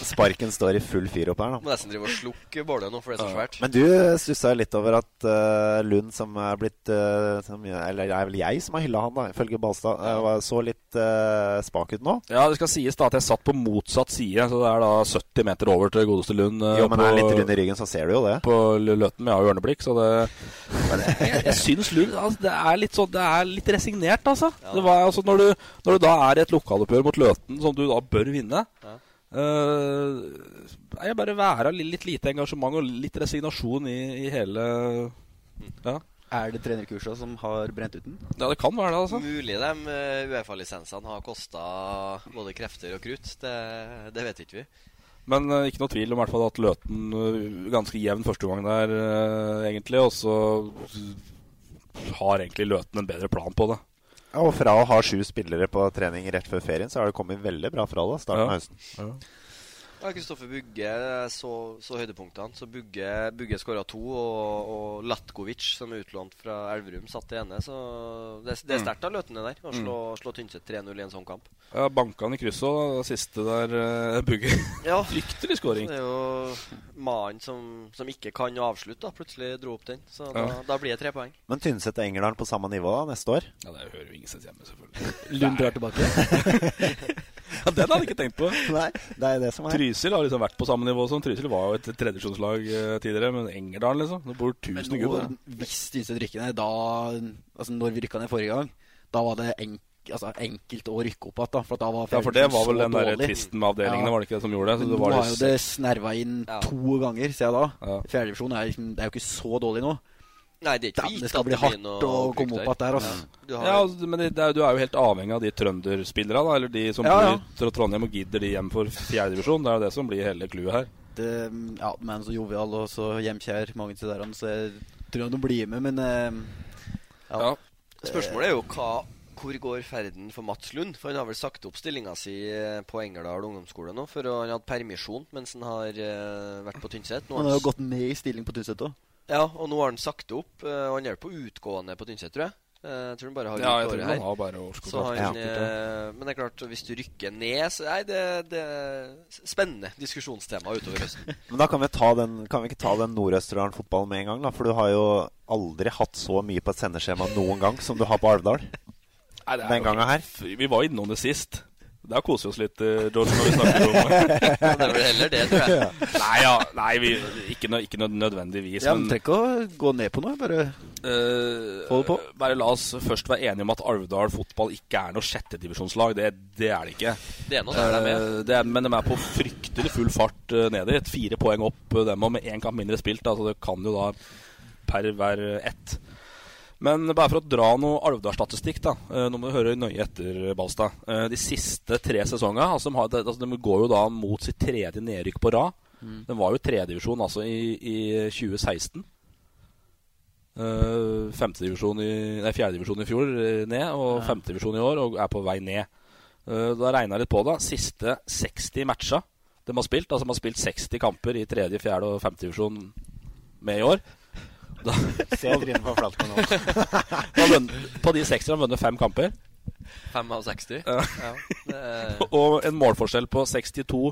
Sparken står i full fyr opp her, da. Må nesten drive og slukke bålet nå, for det er så svært. Men du stussa litt over at eh, Lund, som er blitt eh, som, Eller det er vel jeg som har hylla han, da, ifølge Balstad. eh, var- så litt eh, spak ut nå. Ja, det skal sies da at jeg satt på motsatt side, så det er da 70 meter over til godeste Lund. eh, Jo, men er han på- litt rund i ryggen, så ser du jo det. på Løten, men jeg har jo ørneblikk, så det Men jeg, jeg syns Lund altså, det, er litt sånn- det er litt resignert, altså. Det var, altså når, du, når du da er i et lokaloppgjør mot Løten, som du da bør vinne Ja. eh, Jeg bare være litt, litt lite engasjement og litt resignasjon i, i hele ja. Er det trenerkursa som har brent ut den? ja, det kan være det, altså. Mulig de eh, Uefa-lisensene har kosta både krefter og krutt. Det, det vet ikke vi. Men eh, ikke noe tvil om i hvert fall at Løten eh, ganske jevn første gang der, eh, egentlig. Og så har egentlig Løten en bedre plan på det. Ja, Og fra å ha sju spillere på trening rett før ferien, så har det kommet veldig bra fra det. Starten Ja. av høsten. Ja, Kristoffer Bugge så, så høydepunktene. Så Bugge, Bugge skåra to, og, og Latkovic, som er utlånt fra Elverum, satt det ene. Så det, det er sterkt av Løtene der å slå, slå Tynset 3-0 i en sånn kamp. Ja, Banka han i krysset òg, det siste der uh, Bugge. (laughs) Ja, Fryktelig skåring. det er jo mannen som, som ikke kan avslutte, da. Plutselig dro opp den. Så da, Ja. da blir det tre poeng. Men Tynset og Engerdal på samme nivå da, neste år? Ja, det hører jo ingen seg hjemme, selvfølgelig. Lund drar tilbake? (laughs) Ja, Den hadde jeg ikke tenkt på. (laughs) Nei, det er det som Trysil har liksom vært på samme nivå som Trysil var jo et tredjevisjonslag eh, tidligere, men Engerdal, liksom. Det bor Men 1000 nå, gutter. hvis Tynset rykker ned, da Altså, når vi rykka ned forrige gang, da var det enk, altså, enkelt å rykke opp igjen, da. For at da var Ja, for det var vel så den der dårlig. tvisten med avdelingene, Ja. var det ikke det som gjorde det? Men Så det nå Altså, var har jo det det snerva inn Ja. to ganger, ser jeg da. Ja. Fjerdedivisjon er, liksom, det er jo ikke så dårlig nå. Nei, det er ikke Damn, gitt det skal at bli blir hardt noe å opprykk komme opp igjen der, altså. Ja. Du har ja, altså, men det, det er, du er jo helt avhengig av de trønderspillerne, da. Eller de som Ja, ja. bor i Tr- Trondheim og gidder de hjem for fjerdedivisjon. Det er jo det som blir hele clouet her. Det, ja, men så jovial og så hjemkjær, mange til der, han, så jeg tror han blir med, men eh, ja. Ja. Spørsmålet er jo hva, hvor går ferden for Mats Lund? For han har vel sagt opp stillinga si eh, på Engerdal ungdomsskole nå, for å- han hadde permisjon mens han har eh, vært på Tynset. Nå Han har har han, jo gått ned i stilling på Tynset òg. s- ja, og nå har han sagt opp. eh, og han er vel på utgående på Tynset, tror jeg. Eh, Jeg tror han bare har Ja, jeg ut tror året han her. har bare årskort. Så han, Ja. eh, men det er klart, hvis du rykker ned så, Nei, det, det er spennende diskusjonstema utover (laughs) høsten. Men da kan vi, ta den, kan vi ikke ta den Nord-Østerdalen-fotballen med en gang, da? For du har jo aldri hatt så mye på et sendeskjema noen gang som du har på Alvdal. Nei, det er Den jo- gangen her. Vi var innom det sist. Der koser vi oss litt, eh, George, når vi snakker om (laughs) det. Men det er vel heller det, tror jeg. Nei, ja, nei vi, ikke, nø- ikke nø- nødvendigvis. Ja, men trenger men ikke å gå ned på noe. Bare eh, Hold på. bare la oss først være enige om at Alvdal fotball ikke er noe sjettedivisjonslag. Det, det er det ikke. Det ene og det er med. Eh, det er, men de er på fryktelig full fart eh, ned dit. Fire poeng opp eh, dem, og med én kamp mindre spilt. da, Så det kan jo da per hver ett. Men bare for å dra noe Alvdal-statistikk, da. eh, Nå må du høre nøye etter, Balstad. Eh, De siste tre sesongene altså, de har- det- altså, De går jo da mot sitt tredje nedrykk på rad. Mm. Den var jo tredjedivisjon altså, i, i 2016. Uh, Femtedivisjon i Nei, fjerdedivisjon i fjor eh, ned, og femtedivisjon i år, og er på vei ned. Eh, Da regna jeg litt på det. Siste 60 matcha de har spilt, altså de har spilt 60 kamper i tredje, fjerde og femte divisjon med i år. Da, Se trynet på Flatman nå. da har vunnet, på de 60 har de vunnet fem kamper, Fem av 60. Ja. Ja, det er... og en målforskjell på 62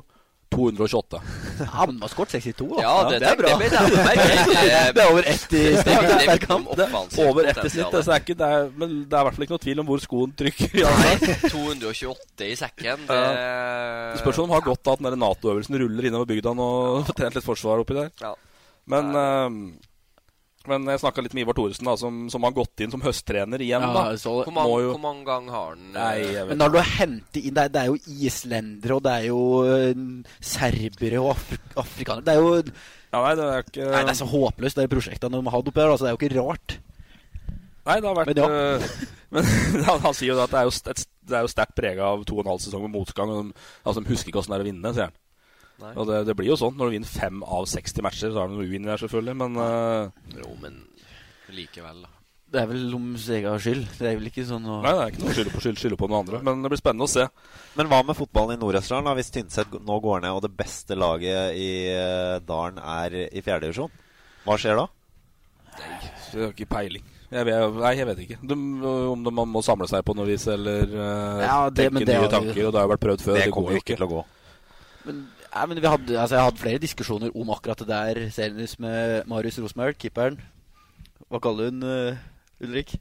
228. Ja, men man har skåret 62, da. Ja, det, det er bra. Det, (laughs) Det er over ett i (laughs) er kamp. Over ett i snitt, altså, det er ikke, det er, men det er i hvert fall ikke noe tvil om hvor skoen trykker. Ja. Nei, 228 i sekken. Det Eh. Det Spørs om de har godt av at den der Nato-øvelsen ruller innover bygda og (laughs) får trent litt forsvar oppi der. Ja. Men, eh, men jeg snakka litt med Ivar Thoresen, da, som, som har gått inn som høsttrener igjen. Ja, da så, Hvor Må mange, jo- hvor mange ganger har han eh, Nei, jeg men vet når du henter inn det er, det er jo islendere, og det er jo eh, serbere og afri afrikanere Det er jo ja, Nei, det er ikke Nei, det er så håpløst, det prosjektet de har hatt oppi her. Altså, det er jo ikke rart. Nei, det har vært Men ja. øh, (laughs) Men han, han sier jo at det er jo, st- et, det er jo sterkt prega av to og en halv sesong med motgang. Og de, altså, de husker ikke åssen det er å vinne, sier han. Nei. Og det, det blir jo sånn når du vinner fem av 60 matcher. Så har du noe uinn der, selvfølgelig, men øh, Jo, men likevel, da. Det er vel om sin egen skyld. Det er vel ikke sånn å Nei, det er ikke noe å skylde på, skyld, skylde på noen andre. Men det blir spennende å se. (laughs) Men hva med fotballen i Nord-Østerdalen? da, Hvis Tynset g- nå går ned, og det beste laget i eh, dalen er i fjerde divisjon, hva skjer da? Jeg har ikke peiling. Jeg vet, nei, jeg vet ikke. De, om de må samle seg på noe vis eller øh, Ja, det- men tenke det nye har vi- tanker. Og det har jo vært prøvd før. Det Det, går kommer jo ikke ikke. til å gå. Men, nei, men vi hadde, altså, jeg hadde flere diskusjoner om akkurat det der, senest med Marius Rosmøl, keeperen. Hva kaller hun eh, Ulrik?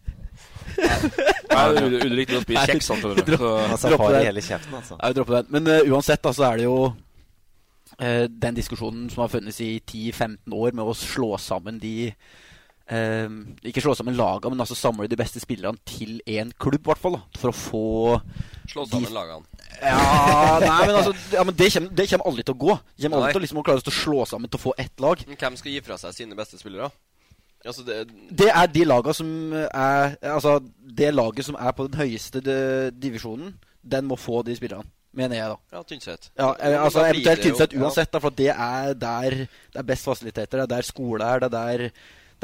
Nei, Ul- Ulrik driver og spiser kjeks. (laughs) han, tror jeg. Så- Han Dropp safari det. hele kjeften, altså. Jeg vil droppe den. Men eh, uansett, da, så er det jo eh, den diskusjonen som har funnes i 10-15 år med å slå sammen de eh, Ikke slå sammen laga, men altså samle de beste spillerne til én klubb, i hvert fall. da, For å få Slå sammen lagene. Ja, nei, men altså ja, men det, kommer, det kommer aldri til å gå. Det kommer Nei. aldri til å liksom, å klare oss til å slå sammen til å få ett lag. Men hvem skal gi fra seg sine beste spillere? Altså, det, Det er de laga som er Altså, det laget som er på den høyeste de, divisjonen, den må få de spillerne. Mener jeg, da. ja, Tynset. Ja, eh, altså Da blir Eventuelt det jo- Tynset ja. uansett, da, for at det er der det er best fasiliteter. Det er der skole er, det er der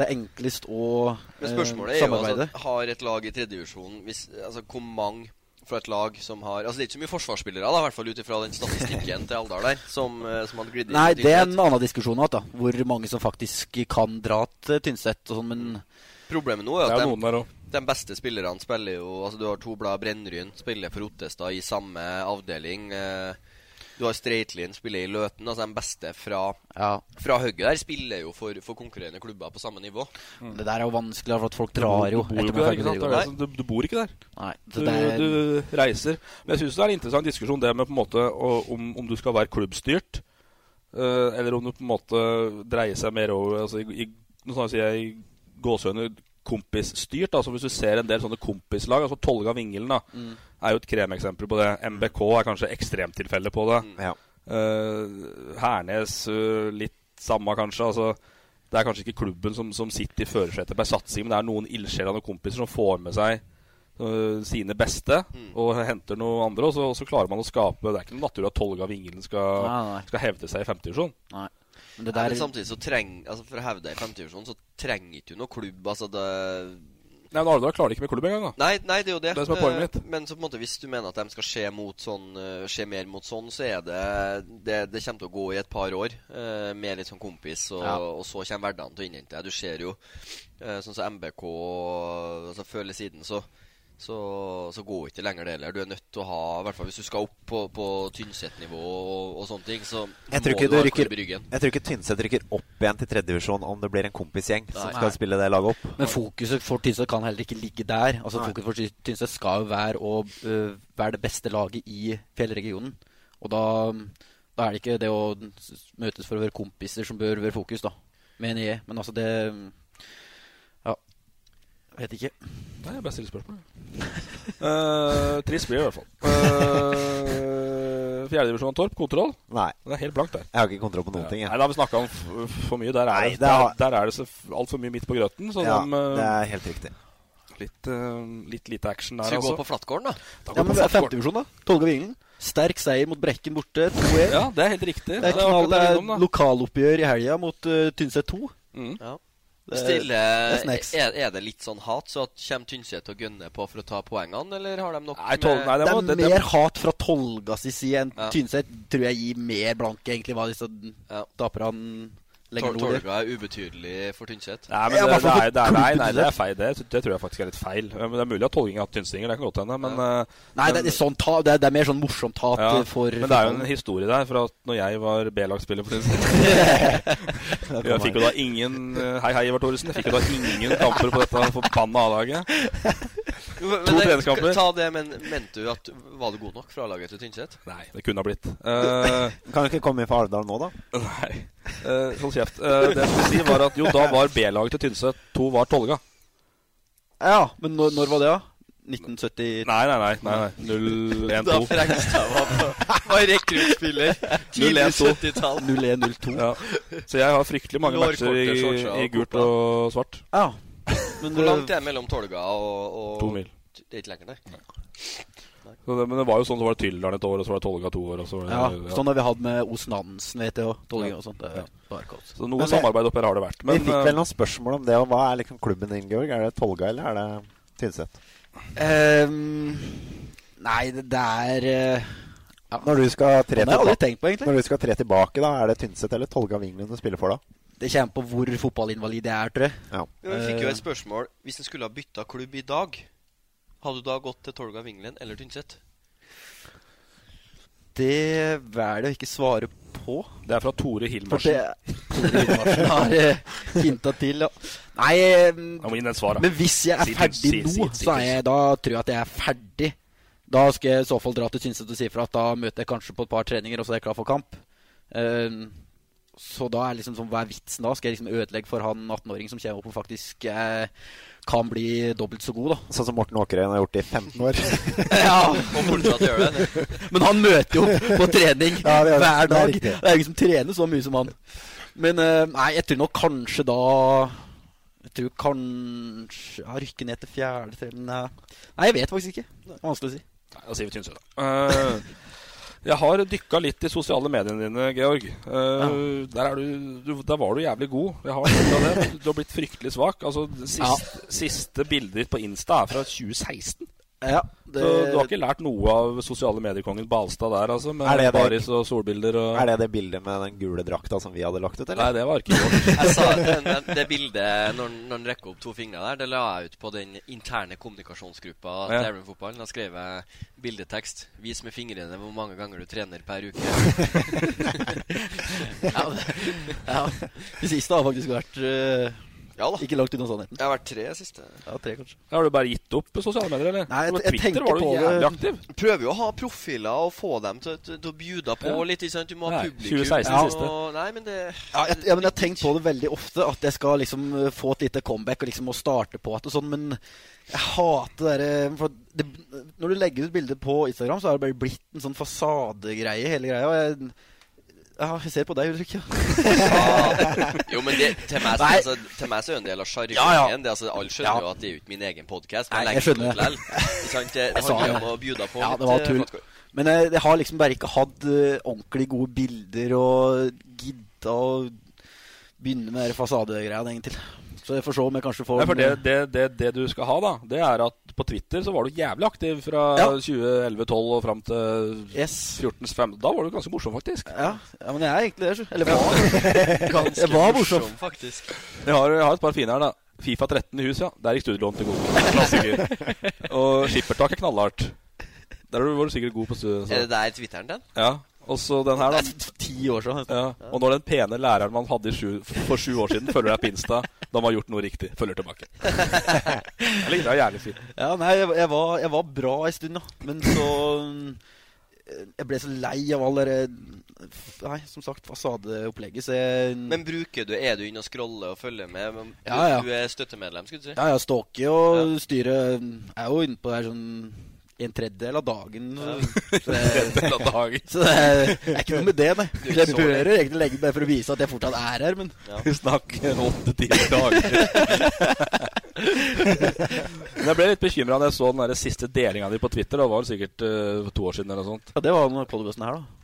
det er enklest å Men eh, spørsmålet er jo samarbeide. altså, har et lag i tredjedivisjon altså, Hvor mange fra et lag som har Altså Det er ikke så mye forsvarsspillere, da i hvert fall ut ifra den statistikken til Alvdal der, som, eh, som hadde glidd inn. Nei, på det er Tynset. en annen diskusjon igjen, da. Hvor mange som faktisk kan dra til Tynset og sånn, men Problemet nå er Det at er de, jo noen der òg. de beste spillerne spiller jo Altså Du har to blad Brennryn, spiller for Ottestad i samme avdeling. eh, Du har Streitlien, spiller i Løten. Altså de beste fra, ja. fra høyre der spiller jo for, for konkurrerende klubber på samme nivå. Det der er jo vanskelig, da, for at folk drar jo. Du bor jo etter ikke man der, er ferdig ikke med sant? Det videregående. er det som- Du, du bor ikke der. Nei, så Du, det er du reiser. Men jeg syns det er en interessant diskusjon det med på en måte å- om, om du skal være klubbstyrt, eh, eller om du på en måte dreier seg mer over altså, i, i, Nå sånn sier jeg i gåsehøyne kompisstyrt. Altså hvis du ser en del sånne kompislag, altså Tolga Vingelen da, Mm. er jo et kremeksempel på det. MBK er kanskje ekstremtilfellet på det. Mm. Ja. Eh, Hernes eh, litt samme, kanskje. altså det er kanskje ikke klubben som, som sitter i førersetet på en satsing, men det er noen ildsjeler og kompiser som får med seg øh, sine beste og henter noen andre, og så, og så klarer man å skape Det er ikke noe naturlig at Tolga Vingelen skal, Nei, nei. skal hevde seg i femtedivisjon. men det Nei, der, men samtidig så treng, altså For å hevde deg i femtedivisjonen, så trenger ikke du noe klubb. Altså det Nei, men Arendal klarer det ikke med klubb engang, da. Nei, nei, det er jo det. Det som er poenget mitt. Eh, Men så på en måte, hvis du mener at de skal skje, mot sånn, eh, skje mer mot sånn, så er det Det, det kommer til å gå i et par år eh, med litt sånn kompis, og, Ja. og så kommer hverdagen til å innhente deg. Du ser jo eh, sånn som MBK og- altså Før eller siden så så, så går ikke lenger det heller. Du er nødt til å ha I hvert fall hvis du skal opp på, på Tynset-nivå og, og sånne ting, så Jeg tror må ikke, du du ha rykker, klubb i ryggen. jeg tror ikke Tynset rykker opp igjen til tredjedivisjon om det blir en kompisgjeng som Nei. skal spille det laget opp. Men fokuset for Tynset kan heller ikke ligge der. Altså Fokuset for Tynset skal jo være å øh, være det beste laget i fjellregionen. Og da, da er det ikke det å s- møtes for å være kompiser som bør være fokus, da. Mener jeg. Men altså, det Ja. Jeg vet ikke. Nei, jeg bare stiller spørsmål. (laughs) uh, trist blir det i hvert fall. Uh, Fjerdedivisjon av Torp, kontroll. Nei, Det er helt blankt der. jeg har ikke kontroll på noen ting. Nei, Jeg. da har vi snakka om f for mye. Der er Nei, det, det har- der, der er det så f- alt for mye midt på grøten. Så Ja, de, um, eh, det er helt riktig. litt, eh, litt lite action der, Så vi går altså. på Flatgården, da. Da går Ja, vi men på det er Flatgården. femtedivisjon, da. Tolga Vingen. Sterk seier mot Brekken borte. E. 2-1. Ja, det er helt riktig. Det er, akkurat knall, det jeg er vil om, da. lokaloppgjør i helga mot øh, eh, Tynset 2. Mm. Det er- Stille, det er eh, er, snacks. er det litt sånn hat, så at kommer Tynset og gønner på for å ta poengene, eller har de nok Nei, tolv, nei, det, Det må, er det, det, mer hat fra Tolga si side enn Ja. Tynset. Tror jeg gir mer blanke, egentlig, hva disse Ja. taperne Tor legger nord i. Torga er ubetydelig for Tynset. Nei, men Ja, i det, hvert det, fall er, det, er, for nei, nei, det er feil. Det, det tror jeg faktisk er litt feil. Eh, Men Det er mulig at Tolging har hatt tynstinger, det kan godt hende. Men, eh, Nei, det er, sånn ta, det, er, det er mer sånn morsomt hat ja, eh, for men det er jo en historie der fra at når jeg var B-lagsspiller (laughs) for Tynset. (laughs) Jeg fikk jo da ingen eh, Hei, hei, Ivar Thoresen. Jeg fikk jo da ingen kamper på dette forbanna A-laget. Jo, men- To men det- treningskamper. Ta det, men mente du at Var du god nok fra laget til Tynset? Nei, det kunne ha blitt. Eh, Kan du ikke komme inn for Alvdal nå, da? nei. Eh, hold kjeft. Eh, det jeg skulle si, var at jo, da var B-laget til Tynset to var Tolga. Ja, men når, når var det, da? 1970 Nei, nei, nei. nei, nei. 0-1-2. Frekstad var, var rekruttspiller. (laughs) 70-tall. 0102. Ja. Så jeg har fryktelig mange Lårkorte matcher shortser og i, i gult kopper. og svart. Ja. Men Hvor det- langt er det mellom Tolga og, og To mil. Det er ikke lenger, nei. Så det, men det var jo sånn, så var det Tyldalen et år, og så var det Tolga to år. Og så var det, Ja, sånn har vi hatt med Osen Hansen, vet jeg, og Tolga og sånt. Det Ja. er bare kaos. Så noe Men det- samarbeid oppi her har det vært. Vi Men fikk vel um, eh, noen spørsmål om det. Og hva er liksom klubben din, Georg? Er det Tolga, eller er det Tynset? Ehm, nei, det, det er eh, Når du skal Det tre, har jeg aldri tilbake, tenkt på, egentlig. når du skal tre tilbake, da, er det Tynset eller Tolga Vinglen du spiller for da? Det kommer på hvor fotballinvalid jeg er, tror jeg. Jo, Vi fikk jo Eh. et spørsmål. Hvis en skulle ha bytta klubb i dag, hadde du da gått til Tolga Vinglen eller Tynset? Det velger jeg å ikke svare på. det er fra For Tore det Hilmersen. Tore Hilmarsen har eh, hinta til. Ja. Nei, eh, Jeg må inn den svaret. men hvis jeg er Si- ferdig si- si- nå, si- så er jeg, da tror jeg at jeg er ferdig. Da skal jeg i så fall dra til Tynset og si fra at da møter jeg kanskje på et par treninger, og så er jeg klar for kamp. Eh, så da er liksom sånn, hva er vitsen da? Skal jeg liksom ødelegge for han 18-åringen som kommer opp og faktisk eh, kan bli dobbelt så god, da? Sånn som Morten Åkerøyen har gjort i 15 år. (laughs) ja, Og fortsatt gjør det. Men han møter jo opp på trening Ja, det er- hver det er dag. riktig. Det er jo ingen som trener så mye som han. Men eh, nei, jeg tror nok kanskje da Jeg tror kanskje ja, Rykke ned til fjerde tre- men, Nei, Nei, jeg vet faktisk ikke. Det er vanskelig å si. Nei, Da sier vi Tynset, da. Eh, jeg har dykka litt i sosiale mediene dine, Georg. Eh, der, er du, du, der var du jævlig god. Jeg har sett av det. Du har blitt fryktelig svak. Altså, det Ja. siste, siste bildet ditt på Insta er fra 2016. Ja, Så du har ikke lært noe av sosiale mediekongen Balstad der, altså? Med Er det det- baris og solbilder og Er det det bildet med den gule drakta som vi hadde lagt ut, Nei, eller? det var ikke godt. Jeg (laughs) sa men det- det bildet når, når han rekker opp to fingre der, det la jeg ut på den interne kommunikasjonsgruppa til Ja. Elverum Fotball. Da skrev jeg bildetekst. Vis med fingrene hvor mange ganger du trener per uke. (laughs) ja, det, ja. Det siste har faktisk vært eh, Ja da. ikke langt unna sannheten. Jeg har vært tre siste. Ja, tre kanskje Har du bare gitt opp sosiale medier, eller? Nei, jeg- På jeg Twitter tenker var du på det. jævlig aktiv. Prøver jo å ha profiler og få dem til, til, til å bjuda på Ja. litt. ikke sant? Du må ha Nei, publikum. 2016 og- siste. Nei, men det Ja, jeg, ja, men jeg har tenkt på det veldig ofte, at jeg skal liksom eh, få et lite comeback og liksom må starte på at det sånn, men jeg hater det derre for det, Når du legger ut bilder på Instagram, så er det bare blitt en sånn fasadegreie, hele greia. Og jeg, ja, jeg ser på deg, Ulrik. Ja. Ja. Jo, men det, til, meg, så- Nei. altså, til meg så er det en del av sjargongen. Ja, ja. Det, Altså, alle skjønner Ja. jo at det er jo ikke min egen podkast. Nei, jeg skjønner det. Det, det Jeg sa handler jo om det. å bjuda på. Ja, litt, det var eh, tull. folk- Men jeg, jeg har liksom bare ikke hatt eh, ordentlig gode bilder og gidda å begynne med den fasadegreia egentlig. Så jeg får se om jeg kanskje får Nei, for det, det, det, det du skal ha, da, det er at på Twitter så var du jævlig aktiv fra 2011-12 og fram til 14-15. Da var du ganske morsom, faktisk. eh, Ja, ja men jeg er egentlig det. så- Eller var Jeg var morsom. faktisk. Jeg har, jeg har et par fine her, da. Fifa 13 i hus, ja. Der gikk studielån til gode. (laughs) Klassiker. og skippertak er knallhardt. Der var du sikkert god på studiet. så. Er det der Twitteren den? Mm. Ja. Og så den her, da. Ti år siden. Ja. Og når den pene læreren man hadde i sju, for sju år siden, følger deg på Insta, da må man ha gjort noe riktig. Følger (laughs) tilbake. Eller det er jævlig fint. Ja, nei, jeg, jeg, var, jeg var bra en stund, da. Men så mm, Jeg ble så lei av all det Nei, som sagt, fasadeopplegget, så jeg Men bruker du, er du inne og scroller og følger med? Men Du, Ja, ja. du er støttemedlem, skulle du si? (laughs) Ja, jeg stalker og styrer Jeg er jo inne på det her sånn en tredjedel av dagen. Så, En tredjedel av dagen. (laughs) så det er, det er ikke noe med det, nei. Du er Så ikke jeg så bør lei. egentlig legge meg for å vise at jeg fortsatt er her, men (laughs) Vi snakker åtte-ti dager. (laughs) Men jeg ble litt bekymra da jeg så den der siste delinga di på Twitter. Det var vel sikkert eh, to år siden eller noe sånt. Ja, Det var den podkasten her, da.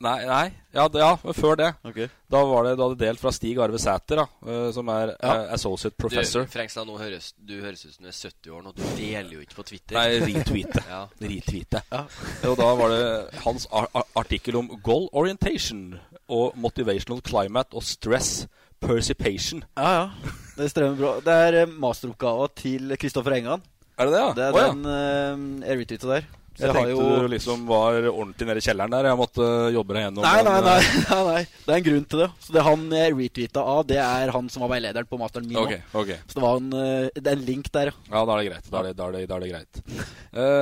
Nei, nei. Ja, det, ja, men før det. Ok. Da var det, du hadde delt fra Stig Arve Sæter, da, eh, som er eh, Ja. associate professor. Du, Frengstad, nå høres, du høres ut som du er 70 år nå. Du deler jo ikke på Twitter. Nei, retweete. Ja. Retweete. Og da var det hans ar ar artikkel om goal orientation og motivational climate og stress percipation. Ja, ja. Det strømmer bra. Det er eh, masteroppgava til Kristoffer Engan. Er det det, ja? Det er Å, ja. den eh, jeg retweeta der. Så Jeg har tenkte jo- du liksom var ordentlig nede i kjelleren der. Jeg måtte øh, jobbe deg gjennom Nei, nei, den, nei, (laughs) øh, nei, nei. Det er en grunn til det. Så det han jeg retweeta av, det er han som var veilederen på masteren min. nå. Ok, ok. Så det, var en, eh, det er en link der, ja. Ja, da er det greit. Da er det, da er det, da er det greit. Eh,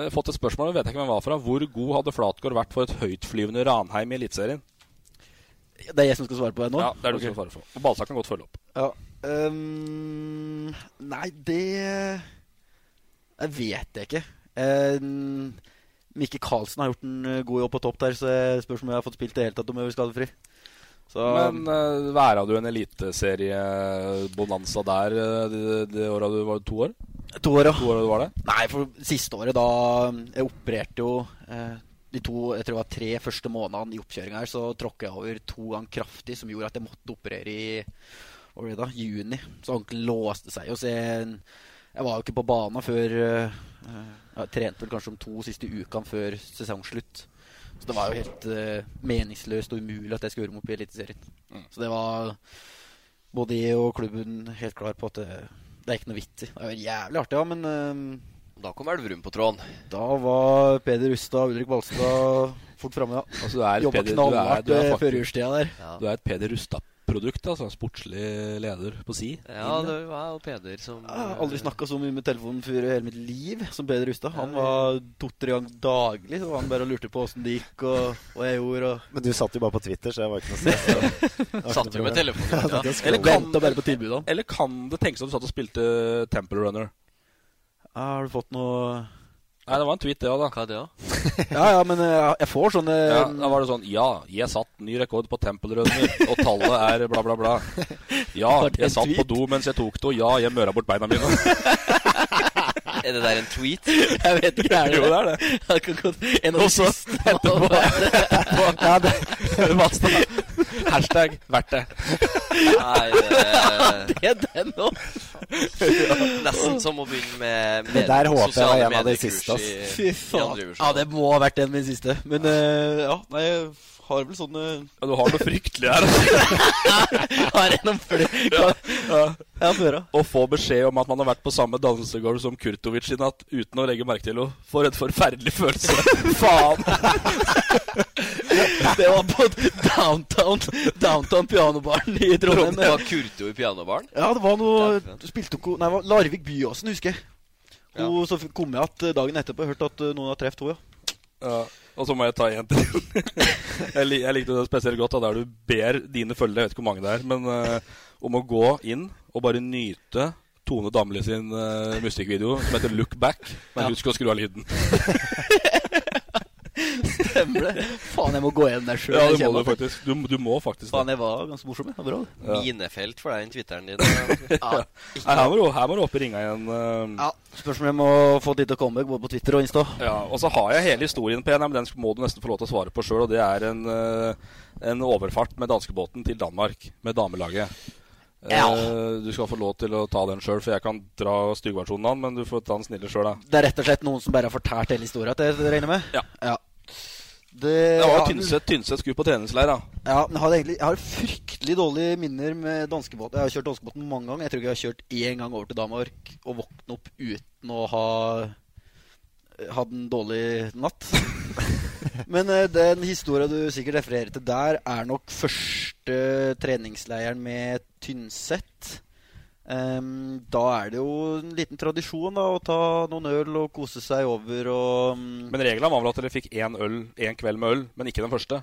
jeg har fått et spørsmål, jeg vet ikke hvem det var fra. Hvor god hadde Flatgård vært for et høytflyvende Ranheim i Eliteserien? Det er jeg som skal svare på det nå? Ja, det er du som Ok. svarer for. Og Balstad kan godt følge opp. Ja. Ehm, nei, det Jeg vet jeg ikke. Um, Mikke Karlsen har gjort en eh, god jobb på topp der, så jeg spørs om jeg har fått spilt i det hele tatt om jeg blir skadefri. Så Men uh, væra du en eliteseriebonanza der øh, det, det året du var to år? to år, ja. To år du var det? Nei, for siste året da um, Jeg opererte jo eh, de to, jeg tror det var tre første månedene i oppkjøringa her, så tråkka jeg over to ganger kraftig, som gjorde at jeg måtte operere i hva var det da, juni. Så ankelen låste seg jo, så jeg, jeg var jo ikke på banen før eh, Jeg trente vel kanskje om to siste ukene før sesongslutt. Så det var jo helt eh, meningsløst og umulig at jeg skulle gjøre meg opp i Eliteserien. Så det var både jeg og klubben helt klar på at det, det er ikke noe vits i. Det er jo jævlig artig, ja, men eh, Da kom Elverum på tråden. da var Peder Rustad og Ulrik Balstad fort framme, ja. Altså, du er et Jobba Peder- du er- knallhardt du er eh, faktisk- før julstida der. Du er et Peder Rustad-produkt, altså. Sportslig leder på si. Ja, det var jo Peder som Jeg har aldri snakka så mye med telefonen før i hele mitt liv som Peder Rustad. Han var to-tre ganger daglig, så var han bare og lurte på åssen det gikk, og hva jeg gjorde, og Men du satt jo bare på Twitter, så jeg var ikke noe (laughs) stress. eh, Satt jo med telefonen. Ja. Eller kan, venta bare på tilbudene. eller kan det tenkes at du satt og spilte Temple Runner? Ja, har du fått noe Nei, det var en tweet, det òg, da. Hva er det, da? Ja ja, men eh, jeg får sånne Ja, da var det sånn Ja, jeg satt ny rekord på tempelrømmer, og tallet er bla, bla, (laughs) bla. Ja, Var det en jeg satt på tweet? do mens jeg tok det, og ja, jeg møra bort beina mine. (laughs) Er det der en (laughs) tweet? Jeg vet ikke, (laughs) er det Jo, det er det. Jeg kan godt- En av de siste etterpå- (laughs) Ja, det Basta. (laughs) Hashtag verdt det. Nei, (laughs) det det er den nå. er nesten som å begynne med Det der håper jeg sosiale var en av de mediekurs siste, ass. i- Fy i faen. andre Ja, det må ha vært en min siste. Men eh, ja, nei, jeg har vel sånne Ja, du har noe fryktelig her. Har en om flere Ja, ja, få høre. Å få beskjed om at man har vært på samme dansegulv som Kurtovic i natt uten å legge merke til henne. For en forferdelig følelse. (laughs) Faen! Det var på downtown Downtown pianobaren i Trondheim. Det var Kurto i pianobaren. Ja, det var noe Du spilte jo ko- Nei, det var Larvik Byåsen, husker jeg. Hun, Så f- kom jeg at eh, dagen etterpå hørte at eh, noen har truffet henne. Ja. Ja. Og så må jeg ta en til. (laughs) jeg, lik, jeg likte det spesielt godt, da, der du ber dine følgere, jeg vet ikke hvor mange det er, men eh, om å gå inn og bare nyte Tone Damli sin eh, musikkvideo som heter 'Look Back'. Men husk å skru av lyden. Stemmer det. Faen, jeg må gå igjen der sjøl. Ja, det må du faktisk. Du, du må faktisk Faen, jeg var ganske morsom. jeg. Det var Bra. Ja. Minefelt for deg, den twitteren (laughs) din. Ja. Nei, her, må du, her må du opp i ringa igjen. eh. Ja, Spørsmålet om å få tid til å komme både på Twitter og Insta. Ja, og så har jeg hele historien på en, men den må du nesten få lov til å svare på sjøl. Og det er en, eh, en overfart med danskebåten til Danmark med damelaget. Eh, Du skal få lov til å ta den sjøl, for jeg kan dra styggversjonen av den. Men du får ta den snille sjøl, da. Det er rett og slett noen som bare har fortært hele historia til deg, regner jeg med? Ja. Det, Det var jo ja, Tynset. Tynset skulle på treningsleir, da. Ja, men jeg har, egentlig, jeg har fryktelig dårlige minner med danskebåten. Jeg har kjørt danskebåten mange ganger. Jeg tror ikke jeg har kjørt én gang over til Danmark og våkne opp uten å ha eh, hatt en dårlig natt. (laughs) men eh, den historia du sikkert refererer til der, er nok første treningsleiren med Tynset. Ehm, da er det jo en liten tradisjon da, å ta noen øl og kose seg over og mm, Men regelen var vel at dere fikk én øl én kveld med øl, men ikke den første.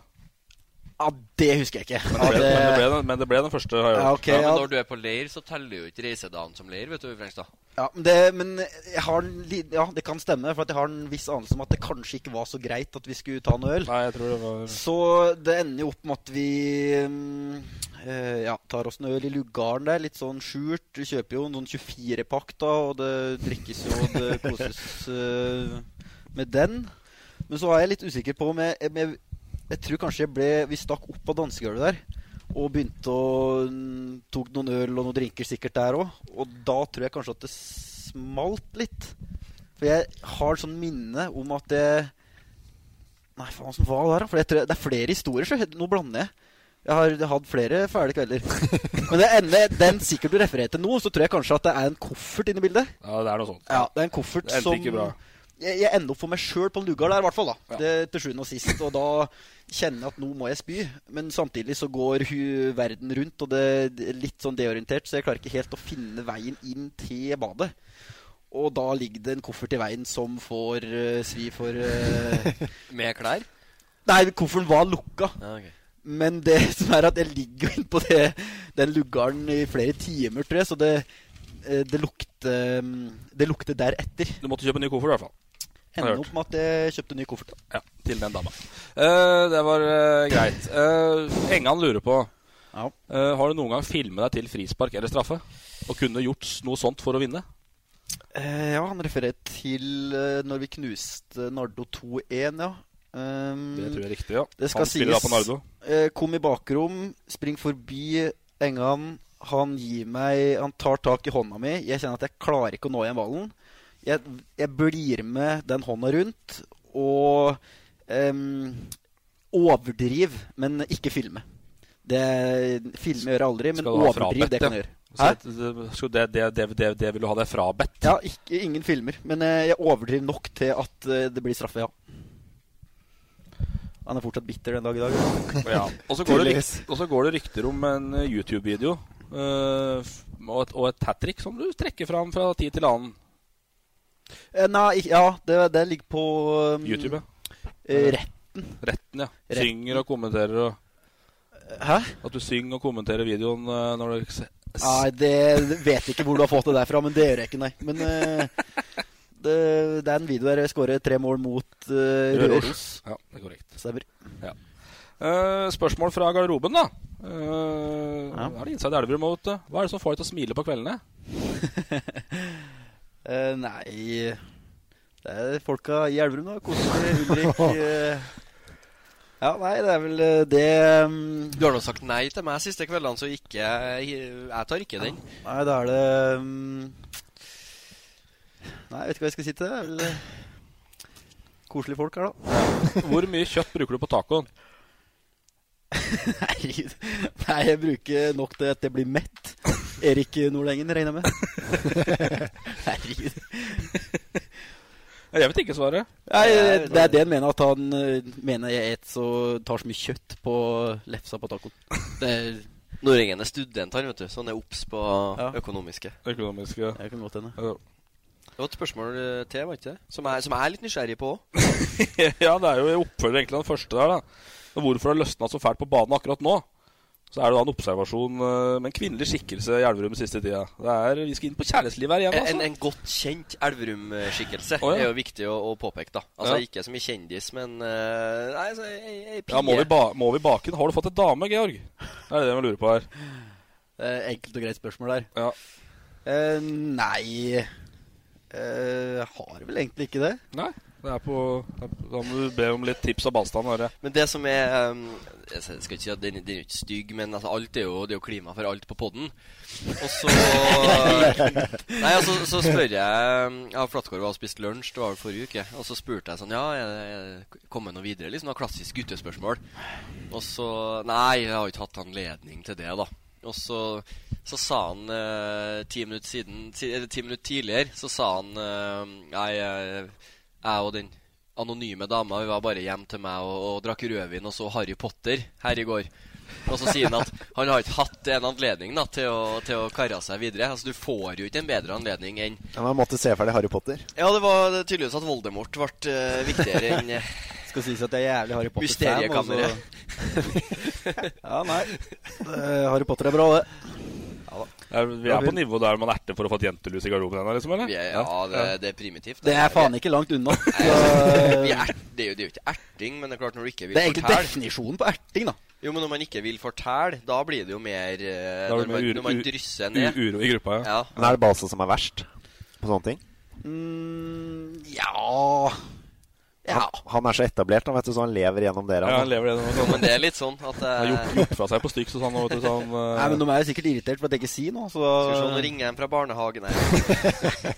Ja, det husker jeg ikke. Men det ble, Ja, men det ble, den, men det ble den første, har jeg Ja, hørt. ok, Ja, ja. men når du er på leir, så teller jo ikke reisedagen som leir, vet du, Frengstad. Ja, men det, men jeg har en, li- ja, det kan stemme, for at jeg har en viss anelse om at det kanskje ikke var så greit at vi skulle ta noe øl. Nei, jeg tror det var Så det ender jo opp med at vi mm, eh, ja, tar oss en øl i lugaren der, litt sånn skjult. Du kjøper jo en sånn 24-pakk, da, og det drikkes jo, og det koses eh, med den. Men så er jeg litt usikker på om jeg, om jeg Jeg tror kanskje jeg ble Vi stakk opp av dansegulvet der. Og begynte å mm, Tok noen øl og noen drinker sikkert der òg. Og da tror jeg kanskje at det smalt litt. For jeg har sånn minne om at jeg Nei, faen, åssen var det der, da? For jeg tror, det er flere historier, så nå blander jeg. Jeg har hatt flere fæle (laughs) kvelder. Men det ender, den sikkert du refererer til nå, så tror jeg kanskje at det er en koffert inne i bildet. Ja, det er noe sånt. Ja, det er en koffert Det endte som ikke bra. Jeg, jeg ender opp for meg sjøl på en lugar der, i hvert fall. da det, Til sjuende og sist. Og da kjenner jeg at nå må jeg spy. Men samtidig så går hu verden rundt, og det det er litt sånn deorientert, så jeg klarer ikke helt å finne veien inn til badet. Og da ligger det en koffert i veien som får eh, svi for eh, Med klær? Nei, kofferten var lukka. Ja, ok. Men det (laughs) som er at jeg ligger jo inne på det, den lugaren i flere timer, tror jeg, så det, eh, det lukter mm, Det lukter deretter. Du måtte kjøpe en ny koffert, i hvert fall. Har Ender hørt. opp med at jeg kjøpte ny koffert. Ja, til den dama. Eh, det var eh, greit. Eh, Engan lurer på Ja. eh, Har du noen gang filmet deg til frispark eller straffe? Og kunne gjort s- noe sånt for å vinne? Eh, ja, han refererer til eh, når vi knuste Nardo 2-1, ja. Ehm, Det tror jeg er riktig, ja. det skal Han spiller da på Nardo. eh, kom i bakrom, spring forbi Engan. Han gir meg Han tar tak i hånda mi. Jeg kjenner at jeg klarer ikke å nå igjen ballen. Jeg, jeg blir med den hånda rundt og ehm, overdriv, men ikke filme. Det, filme gjør jeg aldri, men Skal du ha overdriv, det frabedt, kan ja. jeg gjøre. Så det- Skulle det, det, det, det, det vil du ha deg (laughs) frabedt? Ja, ikke, ingen filmer. Men eh, jeg overdriver nok til at eh, det blir straffe, ja. Han er fortsatt bitter den dag i dag. Ja. Og så går, det Tydeligvis. rykt- og så går det rykter om en eh, YouTube-video eh, f- og et, og et hat trick som du trekker fram fra tid til annen. Eh, nei, ikke- ja, det, det ligger på um, YouTube. ja. eh, rett. Retten, ja. Retten. Synger og kommenterer og Hæ? At du synger og kommenterer videoen eh, når du se- Nei, det det vet jeg ikke hvor du har fått det derfra, men det gjør jeg ikke, nei. Men eh, det, det er en video der jeg skårer tre mål mot eh, Røros. Røros. Ja, det er korrekt. Stemmer. (laughs) Eh, spørsmål fra garderoben, da. Eh, Ja. Er det Inside Elverum og vet du? Hva er det som får deg til å smile på kveldene? Eh, nei Det er folka i Elverum, da. Koselig. (laughs) Ulrik. eh. ja, nei, det er vel eh, det um, Du har nå sagt nei til meg siste kveldene, så ikke Jeg tar ikke den. Nei, da er det mm, Nei, jeg vet ikke hva jeg skal si til det. Det er vel, eh, Koselige folk her, da. Hvor mye kjøtt bruker du på tacoen? Herregud. Nei, jeg bruker nok til at jeg blir mett. Erik Nordengen, regner jeg med. (laughs) Herregud. Eh, Jeg vet ikke svaret. Nei, det er det han mener, at han eh, mener jeg et så tar så mye kjøtt på lefsa på tacoen. Det er, Nordengen er student, han, vet du, så han er obs på Ja. økonomiske. Økonomiske det kan godt hende. Eh, (laughs) Det var et spørsmål eh, til, var det ikke det? Som jeg, som jeg er litt nysgjerrig på òg. Ja, det er jo jeg oppfølger egentlig den første der, da. Men Hvorfor har det løsna så fælt på banen akkurat nå? Så er det da en observasjon eh, med en kvinnelig skikkelse i Elverum siste tida. Det er, vi skal inn på kjærlighetslivet her igjen, En, altså. en godt kjent Elverum-skikkelse Å, ja. er jo viktig å, å påpeke, da. Altså Ja. ikke så mye kjendis, men eh, Nei, så ei, ei, ei pie. ja, må vi, ba må vi bake den? Har du fått et dame, Georg? Det er det vi lurer på her. enkelt og greit spørsmål der. Ja. Eh, nei Eh, Har vel egentlig ikke det. Nei. Det er på, det er på- da må du be om litt tips av Balstad. Are. Men det som er um, Jeg skal ikke si at den, den er jo ikke stygg, men altså, alt er jo, det er jo klima for alt på poden. Og så (laughs) Nei, altså, så spør jeg um, Ja, Flatgård var og spiste lunsj, det var vel forrige uke. Og så spurte jeg sånn Ja, er det- er det kommet noe videre? Liksom noe klassisk guttespørsmål. Og så Nei, jeg har jo ikke hatt anledning til det, da. Og så, så sa han eh, ti minutter siden ti, Eller ti minutter tidligere så sa han eh, Nei, jeg, jeg og den anonyme dama Vi var bare hjem til meg og, og drakk rødvin og så Harry Potter her i går. Og så sier han at han har ikke hatt en anledning da, til å, til å karre seg videre. Altså, Du får jo ikke en bedre anledning enn Ja, Man måtte se ferdig Harry Potter. Ja, det var tydeligvis at Voldemort ble eh, viktigere enn eh, Skal sies at jeg er jævlig Harry Potter-fan. og så- mysteriekammeret. (laughs) ja, nei. Eh, Harry Potter er bra, det. Er, vi er på nivå der man erter for å få et jentelus i garderoben ennå, liksom? eller? Vi er- (laughs) Ja, det, det er primitivt. Det er faen ikke langt unna. Nei, Så, vi er, det, er jo, det er jo ikke erting, men det er klart når du ikke vil Eh, det er egentlig fortelle definisjonen på erting, da. Jo, men når man ikke vil fortelle, da blir det jo mer eh, Da når, blir det man, mer ur- når man ur- drysser U- ned. Uro i gruppa, ja. Ja. Men er det Balstad som er verst på sånne ting? Mm, ja Ja. Han, han er så etablert, han, vet du, så han lever gjennom dere. Ja, han. han lever det nå. Jo, men det er litt sånn (laughs) at (laughs) Han har eh, gjort, gjort fra seg på stykk, så sånn, vet du, sånn eh, Nei, men De er jo sikkert irritert for at jeg ikke sier noe. Så Skal vi se, da... nå ringer jeg fra barnehagen her.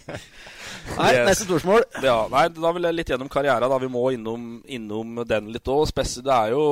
Nei, Yes. Neste spørsmål. Ja, nei, da vil jeg litt gjennom karriera. da Vi må innom, innom den litt òg. Det er jo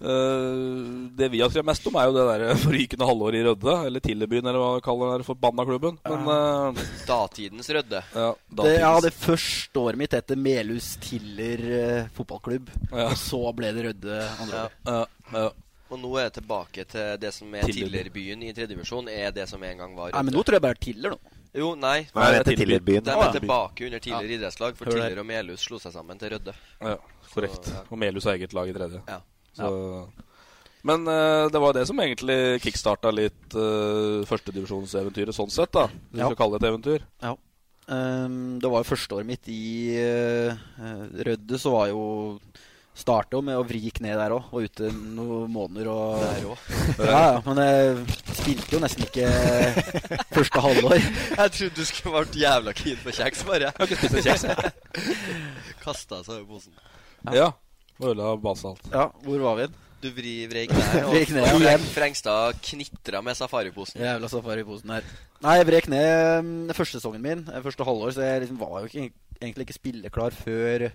øh, Det vi har skrevet mest om, er jo det der forrykende halvåret i Rødde. Eller Tillebyen, eller hva vi kaller den der forbanna klubben. Men øh, Datidens Rødde. ja, Det, ja, datidens- det første året mitt heter Melhus Tiller eh, fotballklubb. Ja. Og så ble det Rødde andre Ja. året. Ja, ja. Og nå er jeg tilbake til det som er Tiller. Tillerbyen i tredje divisjon, er det som en gang var Nei, men nå tror jeg bare Tiller, nå. Jo, nei. Nei, det det er heter Tillerbyen. De Ja. er tilbake under tidligere idrettslag, for Hører det. Tiller og Melhus slo seg sammen til Rødde. (laughs) Ja, korrekt. Og Melhus har eget lag i tredje. Ja. Så, Men eh, det var det som egentlig kickstarta litt uh, førstedivisjonseventyret sånn sett, da. Hvis vi Ja. skal kalle det et eventyr. Ehm, det var jo første året mitt i eh, eh, Rødde, så var jo Starta jo med å vri kne der òg. Var ute noen måneder og Der òg. Ja, ja, men jeg spilte jo nesten ikke første halvår. Jeg trodde du skulle vært jævla keen på kjeks, bare. Jeg har ikke spist kjeks, (laughs) jeg. Kasta seg i posen. Ja. Og øla basalt. Ja, hvor var vi igjen? Du vri, vrei kneet, og Vrei kneet, ja. Freng- Frengstad knitra med safariposen. Jævla safariposen her. Nei, jeg brek ned mm, første sesongen min, eh, første halvår, så jeg liksom var jo ikke, egentlig ikke spilleklar før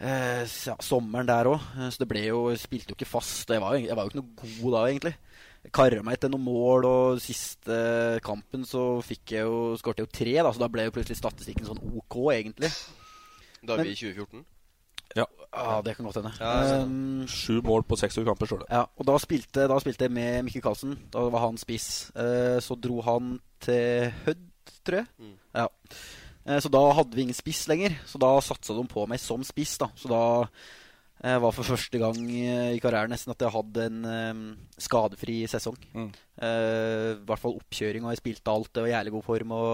eh, s- ja, sommeren der òg. Så det ble jo Spilte jo ikke fast. og Jeg var jo, jeg var jo ikke noe god da, egentlig. Jeg Karra meg til noen mål, og siste kampen så fikk jeg jo skårte jeg jo tre, da, så da ble jo plutselig statistikken sånn OK, egentlig. Da er vi i 2014. Ja, det kan godt hende. Ja, jeg ser det. Ehm, Sju mål på 26 kamper, står det. Ja, og da spilte, da spilte jeg med Mikkel Karlsen. Da var han spiss. Eh, så dro han til Hødd, tror jeg. Mm. Ja. Eh, så da hadde vi ingen spiss lenger, så da satsa de på meg som spiss. da Så da eh, var for første gang eh, i karrieren nesten at jeg hadde en eh, skadefri sesong. Mm. Eh, I hvert fall oppkjøring, og jeg spilte alt. Det var jævlig god form. Og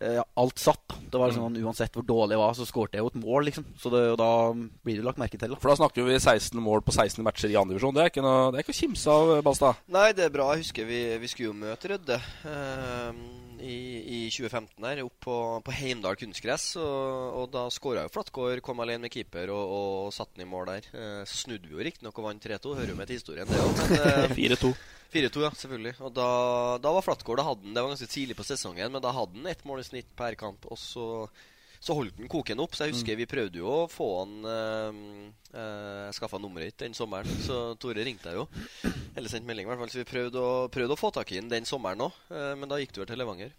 eh, ja, alt satt. da Det Mm. var sånn Uansett hvor dårlig jeg var, så skårte jeg jo et mål, liksom. Så det, og da blir du lagt merke til. da For da snakker vi 16 mål på 16 matcher i andre divisjon. Det er ikke noe, det er ikke å kimse av, eh, Balstad. Nei, det er bra. Jeg husker vi, vi skulle jo møte Rødde ehm, i, i 2015 her, opp på, på Heimdal kunstgress. Og, og da skåra jo Flatgård, kom alene med keeper og, og satte den i mål der. Eh, Så snudde vi jo riktignok og vant 3-2, hører jo med til historien det òg. Men eh, 4-2. 4-2, ja, selvfølgelig. Og da, da var Flatgård, da hadde han, det var ganske tidlig på sesongen, men da hadde han ett mål i snitt per kamp. Og så, så holdt han koken opp. Så jeg husker vi prøvde jo å få han ehm, eh, Jeg skaffa nummeret ditt den sommeren, så Tore ringte jeg jo. Eller sendt melding, i hvert fall. Så vi prøvde å, prøvde å få tak i den den sommeren òg, men da gikk du vel til Levanger.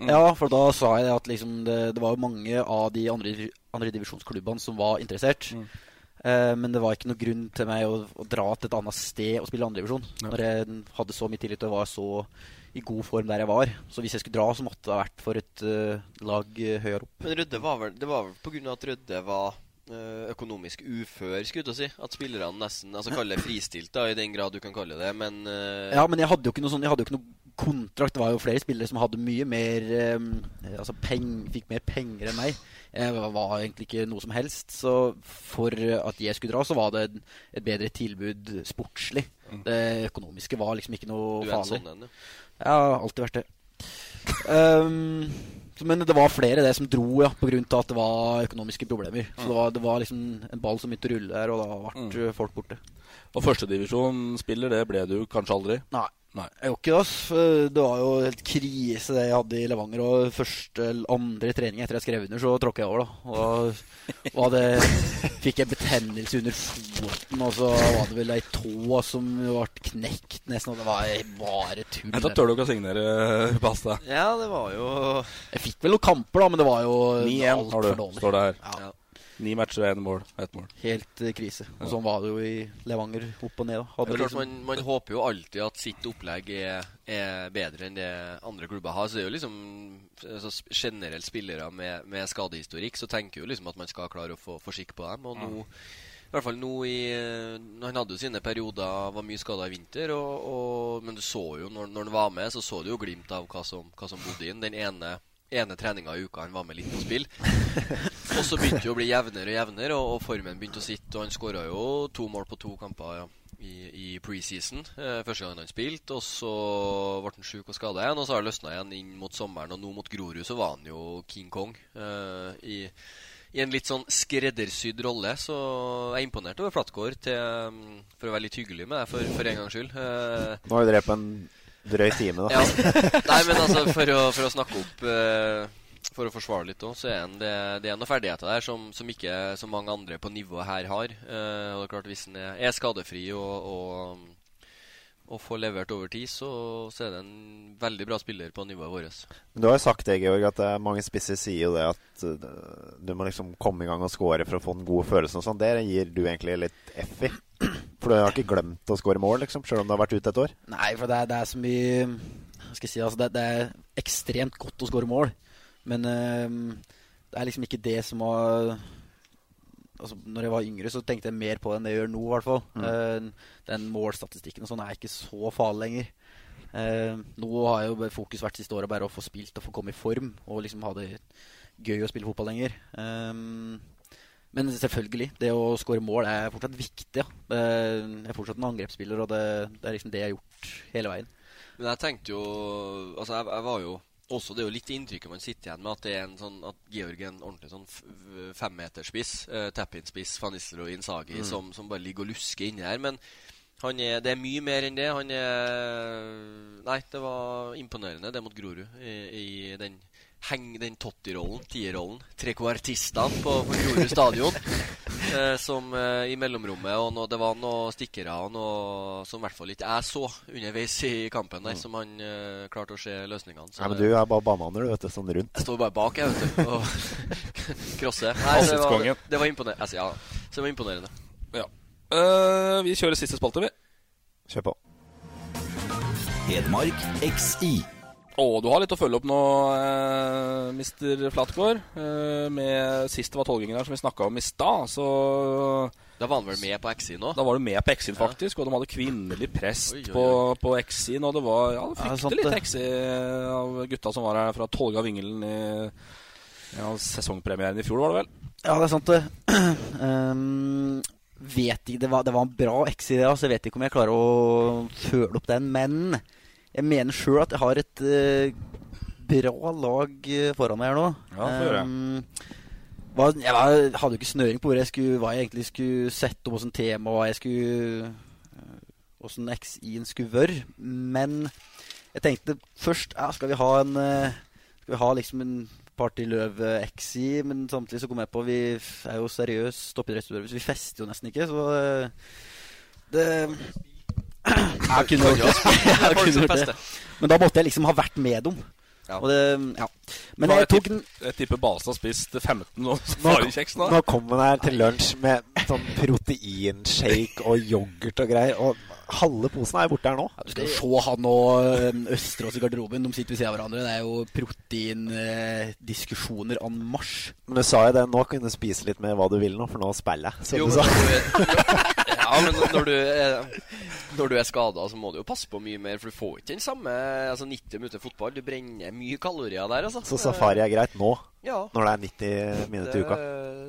Ja, for da sa jeg at liksom det, det var jo mange av de andre, andre divisjonsklubbene som var interessert. Eh, men det var ikke noe grunn til meg å, å dra til et annet sted og spille andredivisjon. Ja. Når jeg hadde så mye tillit og var så i god form der jeg var. Så hvis jeg skulle dra, så måtte det ha vært for et eh, lag eh, høyere opp. Men Rødde var vel Det var vel på grunn av at Rødde var eh, økonomisk ufør, skulle jeg til å si. At spillerne nesten altså kaller det fristilt, da, i den grad du kan kalle det men eh, Ja, men jeg hadde jo ikke noe sånn Jeg hadde jo ikke noe kontrakt. Det var jo flere spillere som hadde mye mer eh, Altså peng, fikk mer penger enn meg. Jeg var- var egentlig ikke noe som helst. Så for at jeg skulle dra, så var det et bedre tilbud sportslig. Det økonomiske var liksom ikke noe Mm. Du er en farlig. sånn en, du. Jeg har alltid vært det. Ehm, så- men det var flere det som dro, ja, pga. at det var økonomiske problemer. Mm. Så det var, det var liksom en ball som begynte å rulle der, og da ble eh, folk borte. Og førstedivisjonsspiller, det ble du kanskje aldri? Nei. Jeg gjorde ikke det. ass. For Det var jo helt krise det jeg hadde i Levanger. Og første eller andre trening etter jeg skrev under, så tråkka jeg over, da. Og, og (laughs) hadde, fikk jeg betennelse under foten, og så var det vel ei tå som ble knekt nesten, og det var bare tull. Dette tør du ikke å signere, eh, Basta. Ja, det var jo Jeg fikk vel noen kamper, da, men det var jo 9-1 har altfor du, dårlig. står det her. Ja. Ni matcher og én mål. Ett mål. Helt eh, krise. Og sånn var det jo i Levanger, opp og ned. da. Det Hadde er klart, liksom- man, man håper jo alltid at sitt opplegg er, er bedre enn det andre klubber har. Så det er jo liksom altså, sp- generelt spillere med, med skadehistorikk, så tenker jo liksom at man skal klare å få, få skikk på dem. Og nå, i hvert fall nå i eh, Han hadde jo sine perioder, var mye skada i vinter, og, og, men du så jo når, når han var med, så så du jo glimt av hva som, hva som bodde inn. Den ene ene treninga i uka han var med litt på spill. Og så begynte det å bli jevnere og jevnere, og, og formen begynte å sitte. Og han skåra jo to mål på to kamper ja, i, i preseason. Eh, første gangen han spilte, og så ble han sjuk og skada igjen. Og så har det løsna igjen inn mot sommeren, og nå mot Grorud så var han jo King Kong. Eh, i, I en litt sånn skreddersydd rolle, så jeg er imponert over Flatgård, til, mm, for å være litt hyggelig med deg, for, for en gangs skyld. Eh, Nå har vi drevet på en drøy time, da. ja. Nei, men altså, for å, for å snakke opp eh, For å forsvare litt òg, så er en det, det er noen ferdigheter der som, som ikke så mange andre på nivået her har. Eh, og det er klart, hvis en er, er skadefri og, og, og får levert over tid, så, så er det en veldig bra spiller på nivået vårt. Men du har jo sagt det, Georg, at det er mange spisser sier jo det at uh, du må liksom komme i gang og score for å få den gode følelsen og sånn. Det gir du egentlig litt F i. For du har ikke glemt å score mål, liksom, sjøl om du har vært ute et år. Nei, for det er, det er så mye hva skal jeg si, altså det, det er ekstremt godt å skåre mål, men eh, det er liksom ikke det som har Altså, når jeg var yngre, så tenkte jeg mer på det enn det jeg gjør nå. I hvert fall Eh, Den målstatistikken og sånn er ikke så farlig lenger. Eh, nå har jo bare fokus hvert siste året bare å få spilt og få komme i form og liksom ha det gøy å spille fotball lenger. Eh, men selvfølgelig, det å skåre mål er fortsatt viktig. Ja. Eh, Jeg er fortsatt en angrepsspiller, og det, det er liksom det jeg har gjort hele veien. Men jeg tenkte jo Altså, jeg, jeg var jo også, Det er jo litt det inntrykket man sitter igjen med, at det er en sånn At Georg er en ordentlig sånn f- f- femmeterspiss, eh, tap-in-spiss, van Nistelrooy, Inzaghi, som, som bare ligger og lusker inni her. Men han er, det er mye mer enn det. Han er Nei, det var imponerende, det mot Grorud. I, i den heng, den Totti-rollen, tierrollen, trekvartistene på, på Grorud stadion. eh, som eh, i mellomrommet, og nå- det var noen stikkere og noe som i hvert fall ikke jeg så underveis i kampen, der, som han eh, klarte å se løsningene. Så Nei, Mm. men det- du er bare bananer, du, vet du. Sånn rundt. jeg står bare bak, jeg, vet (laughs) du. Og krosser. Nei, det var, Avsluttkongen. det var imponerende. Altså, ja, så det var imponerende. Ja. Eh, vi kjører siste spalte, vi. Kjør på. Hedmark XI. Å, du har litt å følge opp nå, eh, Mr. Flatgård. Eh, med Sist det var tolvgingen her, som vi snakka om i stad, så Da var han vel med på XI nå? Da var du med på Exit, faktisk. Og de hadde kvinnelig prest Oi, oi, oi. på, på Exit. Og det var ja, det Ja, sant fryktelig det. litt Exit av gutta som var her fra Tolga Vingelen i ja, sesongpremieren i fjor, var det vel? Ja, det (clears throat) er sant, det. Ehm, vet ikke, det, var, det var en bra X-idé, så jeg vet ikke om jeg klarer å føle opp den. Men jeg mener sjøl at jeg har et eh, bra lag eh, foran meg her nå. Ja, få høre. Ehm, hva, jeg var, hadde jo ikke snøring på hvor jeg skulle, hva jeg egentlig skulle sette opp, åssen tema hva jeg skulle eh, Åssen X-I-en skulle være. Men jeg tenkte først ja, Skal vi ha en eh, Skal vi ha liksom en Party Løv eh, XI, men samtidig så kom jeg på Vi f- er jo seriøs toppidrettsutøver, så vi fester jo nesten ikke, så eh, Det (clears throat) (laughs) Jeg kunne gjort det. Jeg kunne gjort det. Men da måtte jeg liksom ha vært med dem. Ja. Og det, ja. Men Nå har jeg jeg tok den Jeg tipper Balstad har spist 15 nå. så Var det kjeks nå? Nå kom han her til lunsj med sånn proteinshake og yoghurt og greier. Og halve posen er jo borte her nå. Du skal jo se han og øhm, Østerås i garderoben. De sitter ved siden av hverandre. Det er jo proteindiskusjoner en marsj. Men du sa jo det, nå kan du spise litt med hva du vil nå, for nå spiller jeg. som Jo, du men når du, (laughs) (laughs) sa. ja, men når du er, når du er skada, så må du jo passe på mye mer, for du får ikke den samme altså 90 minutter fotball. Du brenner mye kalorier der, altså. Så safari er greit nå, Ja. når det er 90 minutter i uka.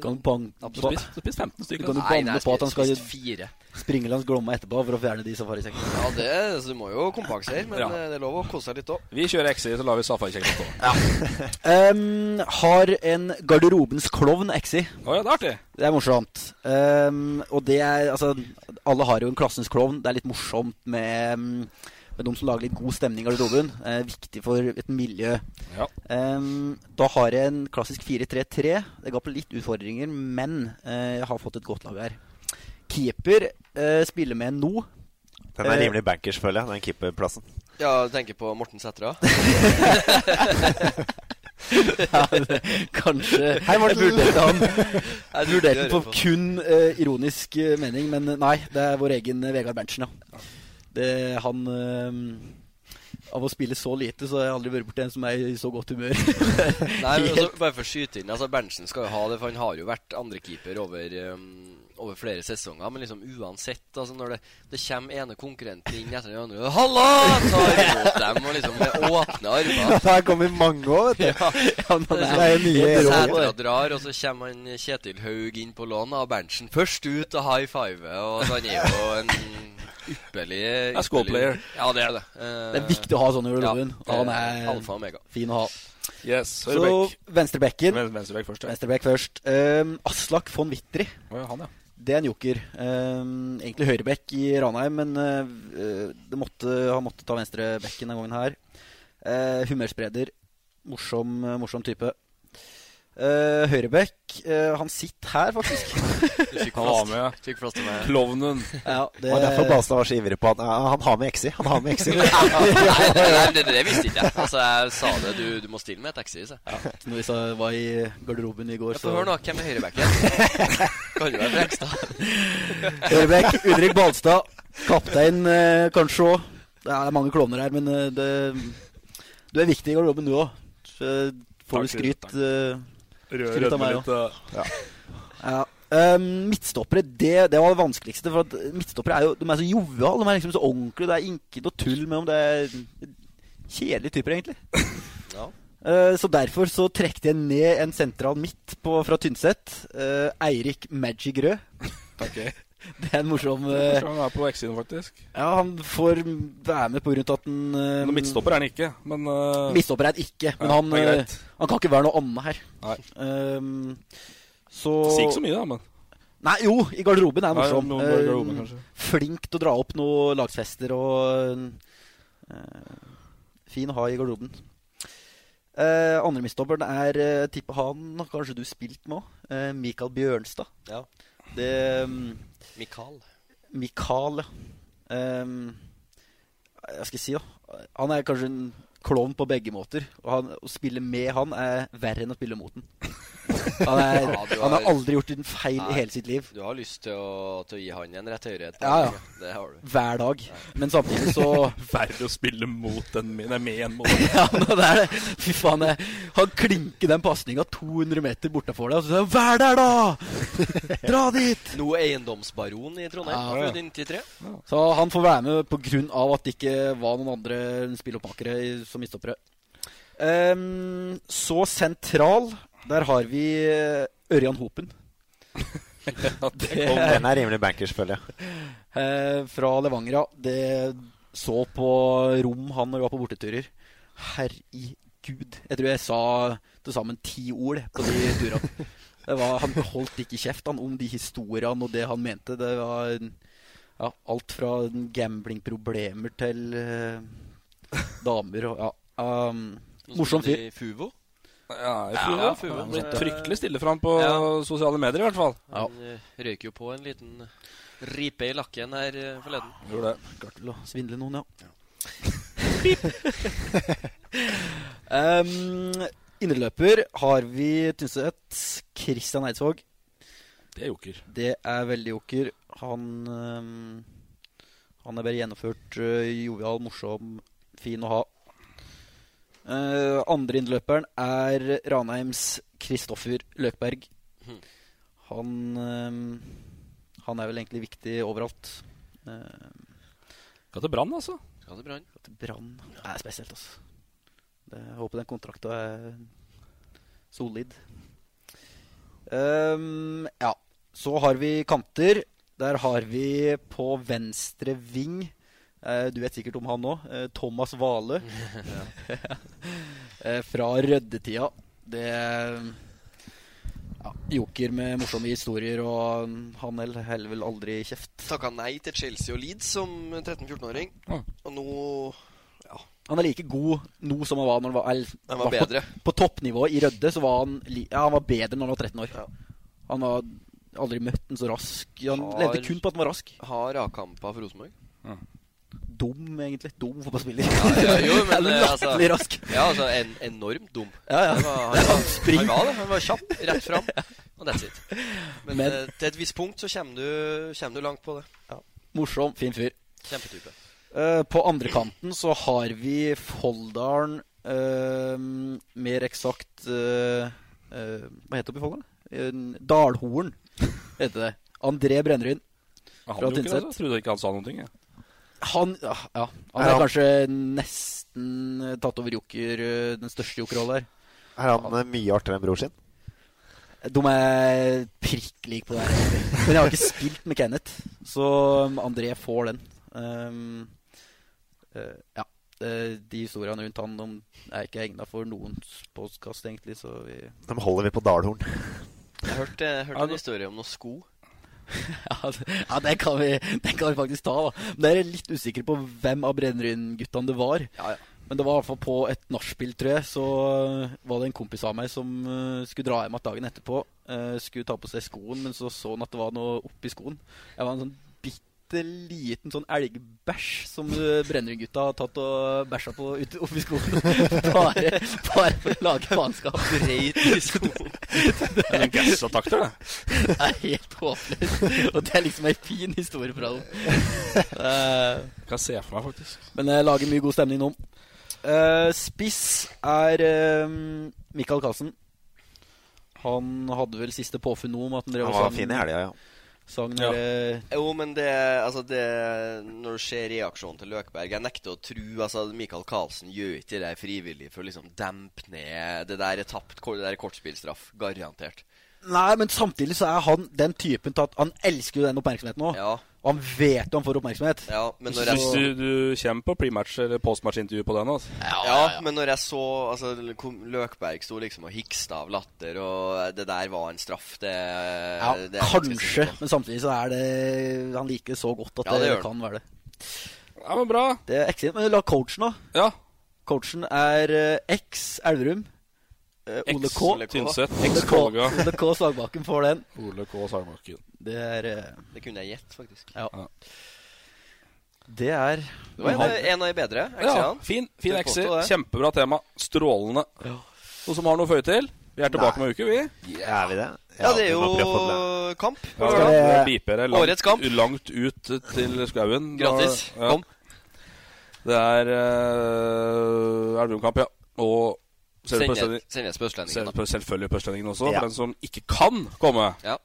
Kan du banke på Absolutt. Du spist 15 stykker. Kan du Nei, banne nei, jeg på at han skal spiste fire. springe langs Glomma etterpå for å fjerne de safarisekkene? Ja, det, så du må jo kompensere, men Ja. eh, det er lov å kose seg litt òg. Vi kjører XI, så lar vi safarikjekken stå. Ehm, har en garderobens klovn exi. Å ja, det er artig. Det er morsomt. Ehm, og det er Altså, alle har jo en klassens klovn. Det er litt morsomt med, mm, med de som lager litt god stemning i garderoben. Eh, viktig for et miljø. Ehm, da har jeg en klassisk 4-3-3. Det ga på litt utfordringer, men eh, jeg har fått et godt lag her. Keeper eh, spiller med en no. (laughs) Den er Eh, rimelig bankers, føler jeg, den keeperplassen. Ja, du tenker på Morten Sætra? ja, det, kanskje Hei, Morten. Jeg vurderte han Jeg (laughs) Jeg vurderte vurderte den på (laughs) på. kun eh, ironisk eh, mening, men nei, det er vår egen eh, Vegard Berntsen, ja. Det, han eh, Av å spille så lite, så har jeg aldri vært borti en som er i så godt humør. (laughs) Nei, men altså, bare for å skyte inn. Altså, Berntsen skal jo ha det, for han har jo vært andrekeeper over, um, over flere sesonger. Men liksom uansett, altså når det, det kommer ene konkurrenten inn etter den andre 'Halla!' tar imot dem og liksom med åpne armer. (laughs) Det har kommet mange år, vet du. Det det er jo er nye liksom, roller. Sætra drar, og så kommer han eh, Kjetil Haug inn på lån, og Berntsen først ut og high five. Og så han er jo en ypperlig er squad ypperlig- player. Ja, det er det. Eh, Det er viktig å ha sånne i garderoben. Ja, han det er alfa og omega. fin å ha. Yes, så venstrebekken. Venstrebekk først. Ja. Venstrebekk først. Ehm, Aslak von Wittry. Å, ja, han, ja. Det er en joker. Ehm, egentlig høyrebekk i Ranheim, men eh, det måtte, han måtte ta venstrebekken denne gangen her. Eh, humørspreder. Morsom, eh, morsom type. Eh, høyrebekk eh, Han sitter her, faktisk. Han var med. Fikk plass til meg. Klovnen. ja, Det var derfor Balstad var så ivrig på at ja, han har med XI. Han har med (laughs) XI. Nei, nei, nei, nei, det, det visste ikke jeg. Altså, jeg sa det. Du, du må stille med et taxi. Så. Når vi sa, var i garderoben i går, Få så høre nå. Hvem er (laughs) høyrebacken? Kan du være Frekstad? Høyrebekk, Ulrik Balstad. Kaptein eh, kanskje òg. Det er mange klovner her, men eh, det, du er viktig i garderoben, du òg. Så eh, får du Takk, Ulrik, skryt. eh, Rød- skryt av rødmer meg litt, òg. Ja. Ehm, midtstoppere, det, det var det vanskeligste. For at midtstoppere er jo De er så joviale. De er liksom så ordentlige. Det er ikke noe tull med om det er kjedelige typer, egentlig. (laughs) Ja. Eh, så derfor så trekte jeg ned en sentral midt på, fra Tynset. Eh, Eirik Magic Rød. Takk. Eh, jeg. (laughs) Det er en morsom eh, Kanskje Han er på X-siden, faktisk. Ja, han får være med på grunn av at han eh, Men midtstopper er han ikke. Men eh, midtstopper er han ikke. Men Ja, han, det er eh, greit. han kan ikke være noe annet her. Nei. Ehm, så sier ikke så mye, da. Men Nei, jo, i garderoben er han Ja, ja, morsom. noen går i garderoben, Eh, kanskje. flink til å dra opp noen lagsfester og eh, Fin å ha i garderoben. Uh, andre midtstopperen er eh, tipper han har kanskje du spilt med òg. Mikael Bjørnstad. Ja. Det um, Mikael. Mikael, ja. Ehm, hva skal jeg si, da? Han er kanskje en klovn på begge måter. Og han, å spille med han er verre enn å (laughs) spille mot den. Han, er, Ja, du han har har- aldri gjort en feil Nei. i hele sitt liv. Du har lyst til å, til å gi han en rett høyre? Ja, ja. Det har du. Hver dag. Men samtidig så (laughs) verre å spille mot enn min. Nei, med enn mot. (laughs) Ja, men det er det. Fy faen, jeg, han klinker den pasninga 200 meter bortafor deg, og så sier han 'Vær der, da! Dra dit!' Nå eiendomsbaron i Trondheim, Ja, fra ja. 1993. Så han får være med på grunn av at det ikke var noen andre spilloppmakere i- som midtstoppere. Ehm, så sentral, der har vi eh, Ørjan (laughs) Hopen. det, Den er rimelig bankers, føler jeg. eh, fra Levanger, ja. Det så på rom han når vi var på borteturer. Herregud. Jeg tror jeg sa til sammen ti ord på de turene. Det var, han holdt ikke kjeft han, om de historiene og det han mente. Det var ja, alt fra gamblingproblemer til eh, damer og ja. Um, morsom fyr. I Fuvo. Ja, altså. Ja, i fjor, ja, da. fjor, Han men, ble eh, fryktelig stille fram på ja. sosiale medier, i hvert fall. Ja. Han eh, røyker jo på en liten ripe i lakken her eh, forleden. Gjorde det. Klarte vel å svindle noen, (laughs) ja. um, Indreløper har vi Tynset. Christian Eidsvåg. Det er joker. Det er veldig joker. Han um, ehm, Han er bare gjennomført, eh, jovial, morsom, fin å ha. Eh, andre innløperen er Ranheims Kristoffer Løkberg. Mhm. Han eh, Han er vel egentlig viktig overalt. Eh, Skal til brann, altså. Skal til brann. til Brann Det er spesielt, altså. Det, jeg håper den kontrakta er solid. Ehm, ja. Så har vi kanter. Der har vi på venstre ving eh, Du vet sikkert om han òg. Thomas Vale. Eh, Fra Røddetida. Det ja, Joker med morsomme historier, og han hel- heller vel aldri kjeft. Takka nei til Chelsea og Leeds som 13-14-åring. Ja. Og nå Han er like god nå som han var når han var, eller, Han var bedre. På, på toppnivå i Rødde så var han, li- ja, han var bedre når han var 13 år. Ja. Han var aldri møtt en så rask. Han Har- levde kun på at han var rask. har A-kamper for Rosenborg. Dum, egentlig. Dum fotballspiller. ja, jo, (laughs) men, Eller eh, altså- Latterlig rask. Ja, altså en, enormt dum. Ja, ja. Det var, han, var, Spring. han var det. Han var kjapp, rett (laughs) fram, og that's it. Men, Men- eh, til et visst punkt så kommer du, kommer du langt på det. Morsom, fin fyr. Kjempetype. Eh, på andre kanten så har vi Folldalen eh, Mer eksakt eh, eh, Hva heter det oppe i Folldalen? Eh, Dalhorn heter det. André Brennryn. Han Fra hadde jo ikke det, Tynset. så jeg trodde ikke han sa noen ting. Jeg. Han, ja, ja. han Er er han- kanskje nesten eh, tatt over joker, eh, den største jokerrollen her. Er han eh, mye artigere enn bror sin? De Eh, er prikk like på det her. egentlig. Men jeg har ikke spilt med Kenneth, så um, André får den. Um, eh, ja. Eh, De historiene rundt han de er ikke egna for noen podkast, egentlig, så vi De holder vi på Dalhorn. Jeg hørte, jeg hørte Ja, en det- historie om noen sko. (laughs) Ja, det- ja den, kan vi, den kan vi faktisk ta, da. Men jeg er litt usikker på hvem av Brennryn-guttene det var. Ja, ja. Men det var i hvert fall på et nachspiel, tror jeg, så øh, var det en kompis av meg som øh, skulle dra hjem igjen dagen etterpå. øh, skulle ta på seg skoen, men så så han at det var noe oppi skoen. Det var en sånn bitte liten sånn elgbæsj som øh, Brennrud-gutta har tatt og bæsja på ut, oppi skoen. (laughs) bare, bare for å lage faenskap. Breit i (laughs) skoen. Det er gassatakter, det. Det er helt håpløst. Og det er liksom ei fin historie fra dem. Eh, Kan jeg se for meg, faktisk. Men jeg lager mye god stemning nå. Eh, spiss er eh, Michael Kassen. Han hadde vel siste påfunn nå om at han drev Han og var sånn- sang- fin i helga, ja. sang Ja. eh, Jo, men det Altså, det Når du ser reaksjonen til Løkberg Jeg nekter å tro Altså, Michael Karlsen gjør ikke det der frivillig for å liksom dempe ned Det der er tapt kor- Det der er kortspillstraff. Garantert. Nei, men samtidig så er han den typen til at han elsker jo den oppmerksomheten nå. Ja. Og han vet jo han får oppmerksomhet. ja men når jeg Hvis så du, du kommer på prematch- eller postmatch-intervju på den altså. Ja, men når jeg så Altså, kom- Løkberg sto liksom og hiksta av latter, og eh, det der var en straff. Det, Ja, det er jeg ganske kanskje, sikker på. men samtidig så er det Han liker det så godt at Ja, det det, gjør han. kan være det. Ja, men bra. Det er excellent. Men la coachen, da. Ja. Coachen er eh, X Elverum. Eh, Ole Eks K. Tynset. Ole Eks K. Kolga. (laughs) Ole K. Sagbakken får den. Ole K. Sagbakken. Det er eh, Det kunne jeg gjette, faktisk. Ja. Det er Det var en, Han- av- en av de bedre. Ja. Ja, fin fin Jeg ekser. påstår det. Kjempebra tema. Strålende. Noen som har noe å føye til? Vi er tilbake om en uke, vi. Er vi det? ja, det er vi må prøve å få det. jo kamp. Ja, skal vi- det biper det langt, Årets kamp. Langt ut til skauen. Gratis. Da- ja. Kom. Det er uh, Elverum-kamp, ja. Og selv på Send Østlending- Sendes på Østlendingen. selv da. på- selvfølgelig på Østlendingen også, Ja. for den som ikke kan komme. Ja.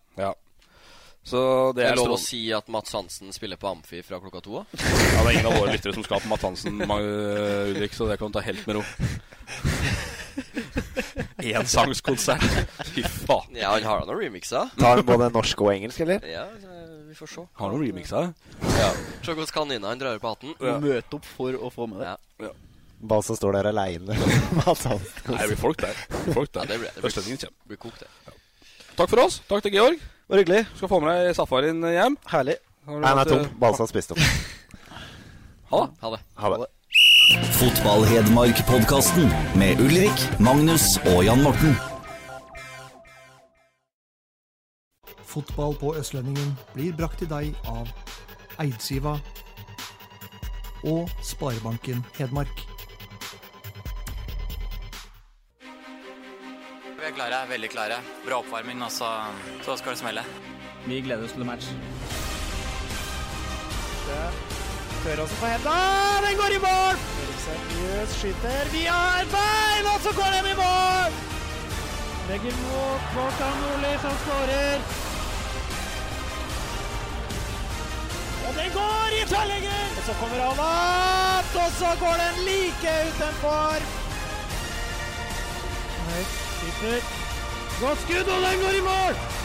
Så det Det er er lov å strålende. si at Mats Hansen spiller på Amfi fra klokka to? da? Ja, det er ingen av våre lyttere som skal på Matt Hansen, Ma- øh, Ulrik, så det kan du ta helt med ro. Ensangskonsert. Fy faen. Ja, han har da noen remixer. Tar vi både norsk og engelsk, eller? Ja, så vi får se. Har du noen remixer? Se hvordan kaninene drar på hatten. å møte opp for å få med det. Ja. Balsa står der aleine. Mats Hansen. Nei, det blir folk der. Det blir Folk der. Ja, det blir det. Østlendingen kommer. Blir kokt, det. Takk for oss. Takk til Georg. Var hyggelig. Du skal få med deg safarien hjem. Herlig. Har du Nei, den hatt, er tom. øh, Balsa spiste opp. Ha det. Ha det. Ha det. Fotball-Hedmark-podkasten med Ulrik, Magnus og Jan Morten. Fotball på Østlendingen blir brakt til deg av Eidsiva og Sparebanken Hedmark. Vi er klare, veldig klare. Bra oppvarming, og så, så skal det smelle. Vi gleder oss til match. Føråsen på henda. Den går i mål! Erik Seriøs skyter via et bein, og så går den i mål! Legger mot Kvartan Nordli, som skårer. Og den går i tverrlegger! Og så kommer han opp, og så går den like utenfor. Høyt, skyter. Godt skudd, og den går i mål!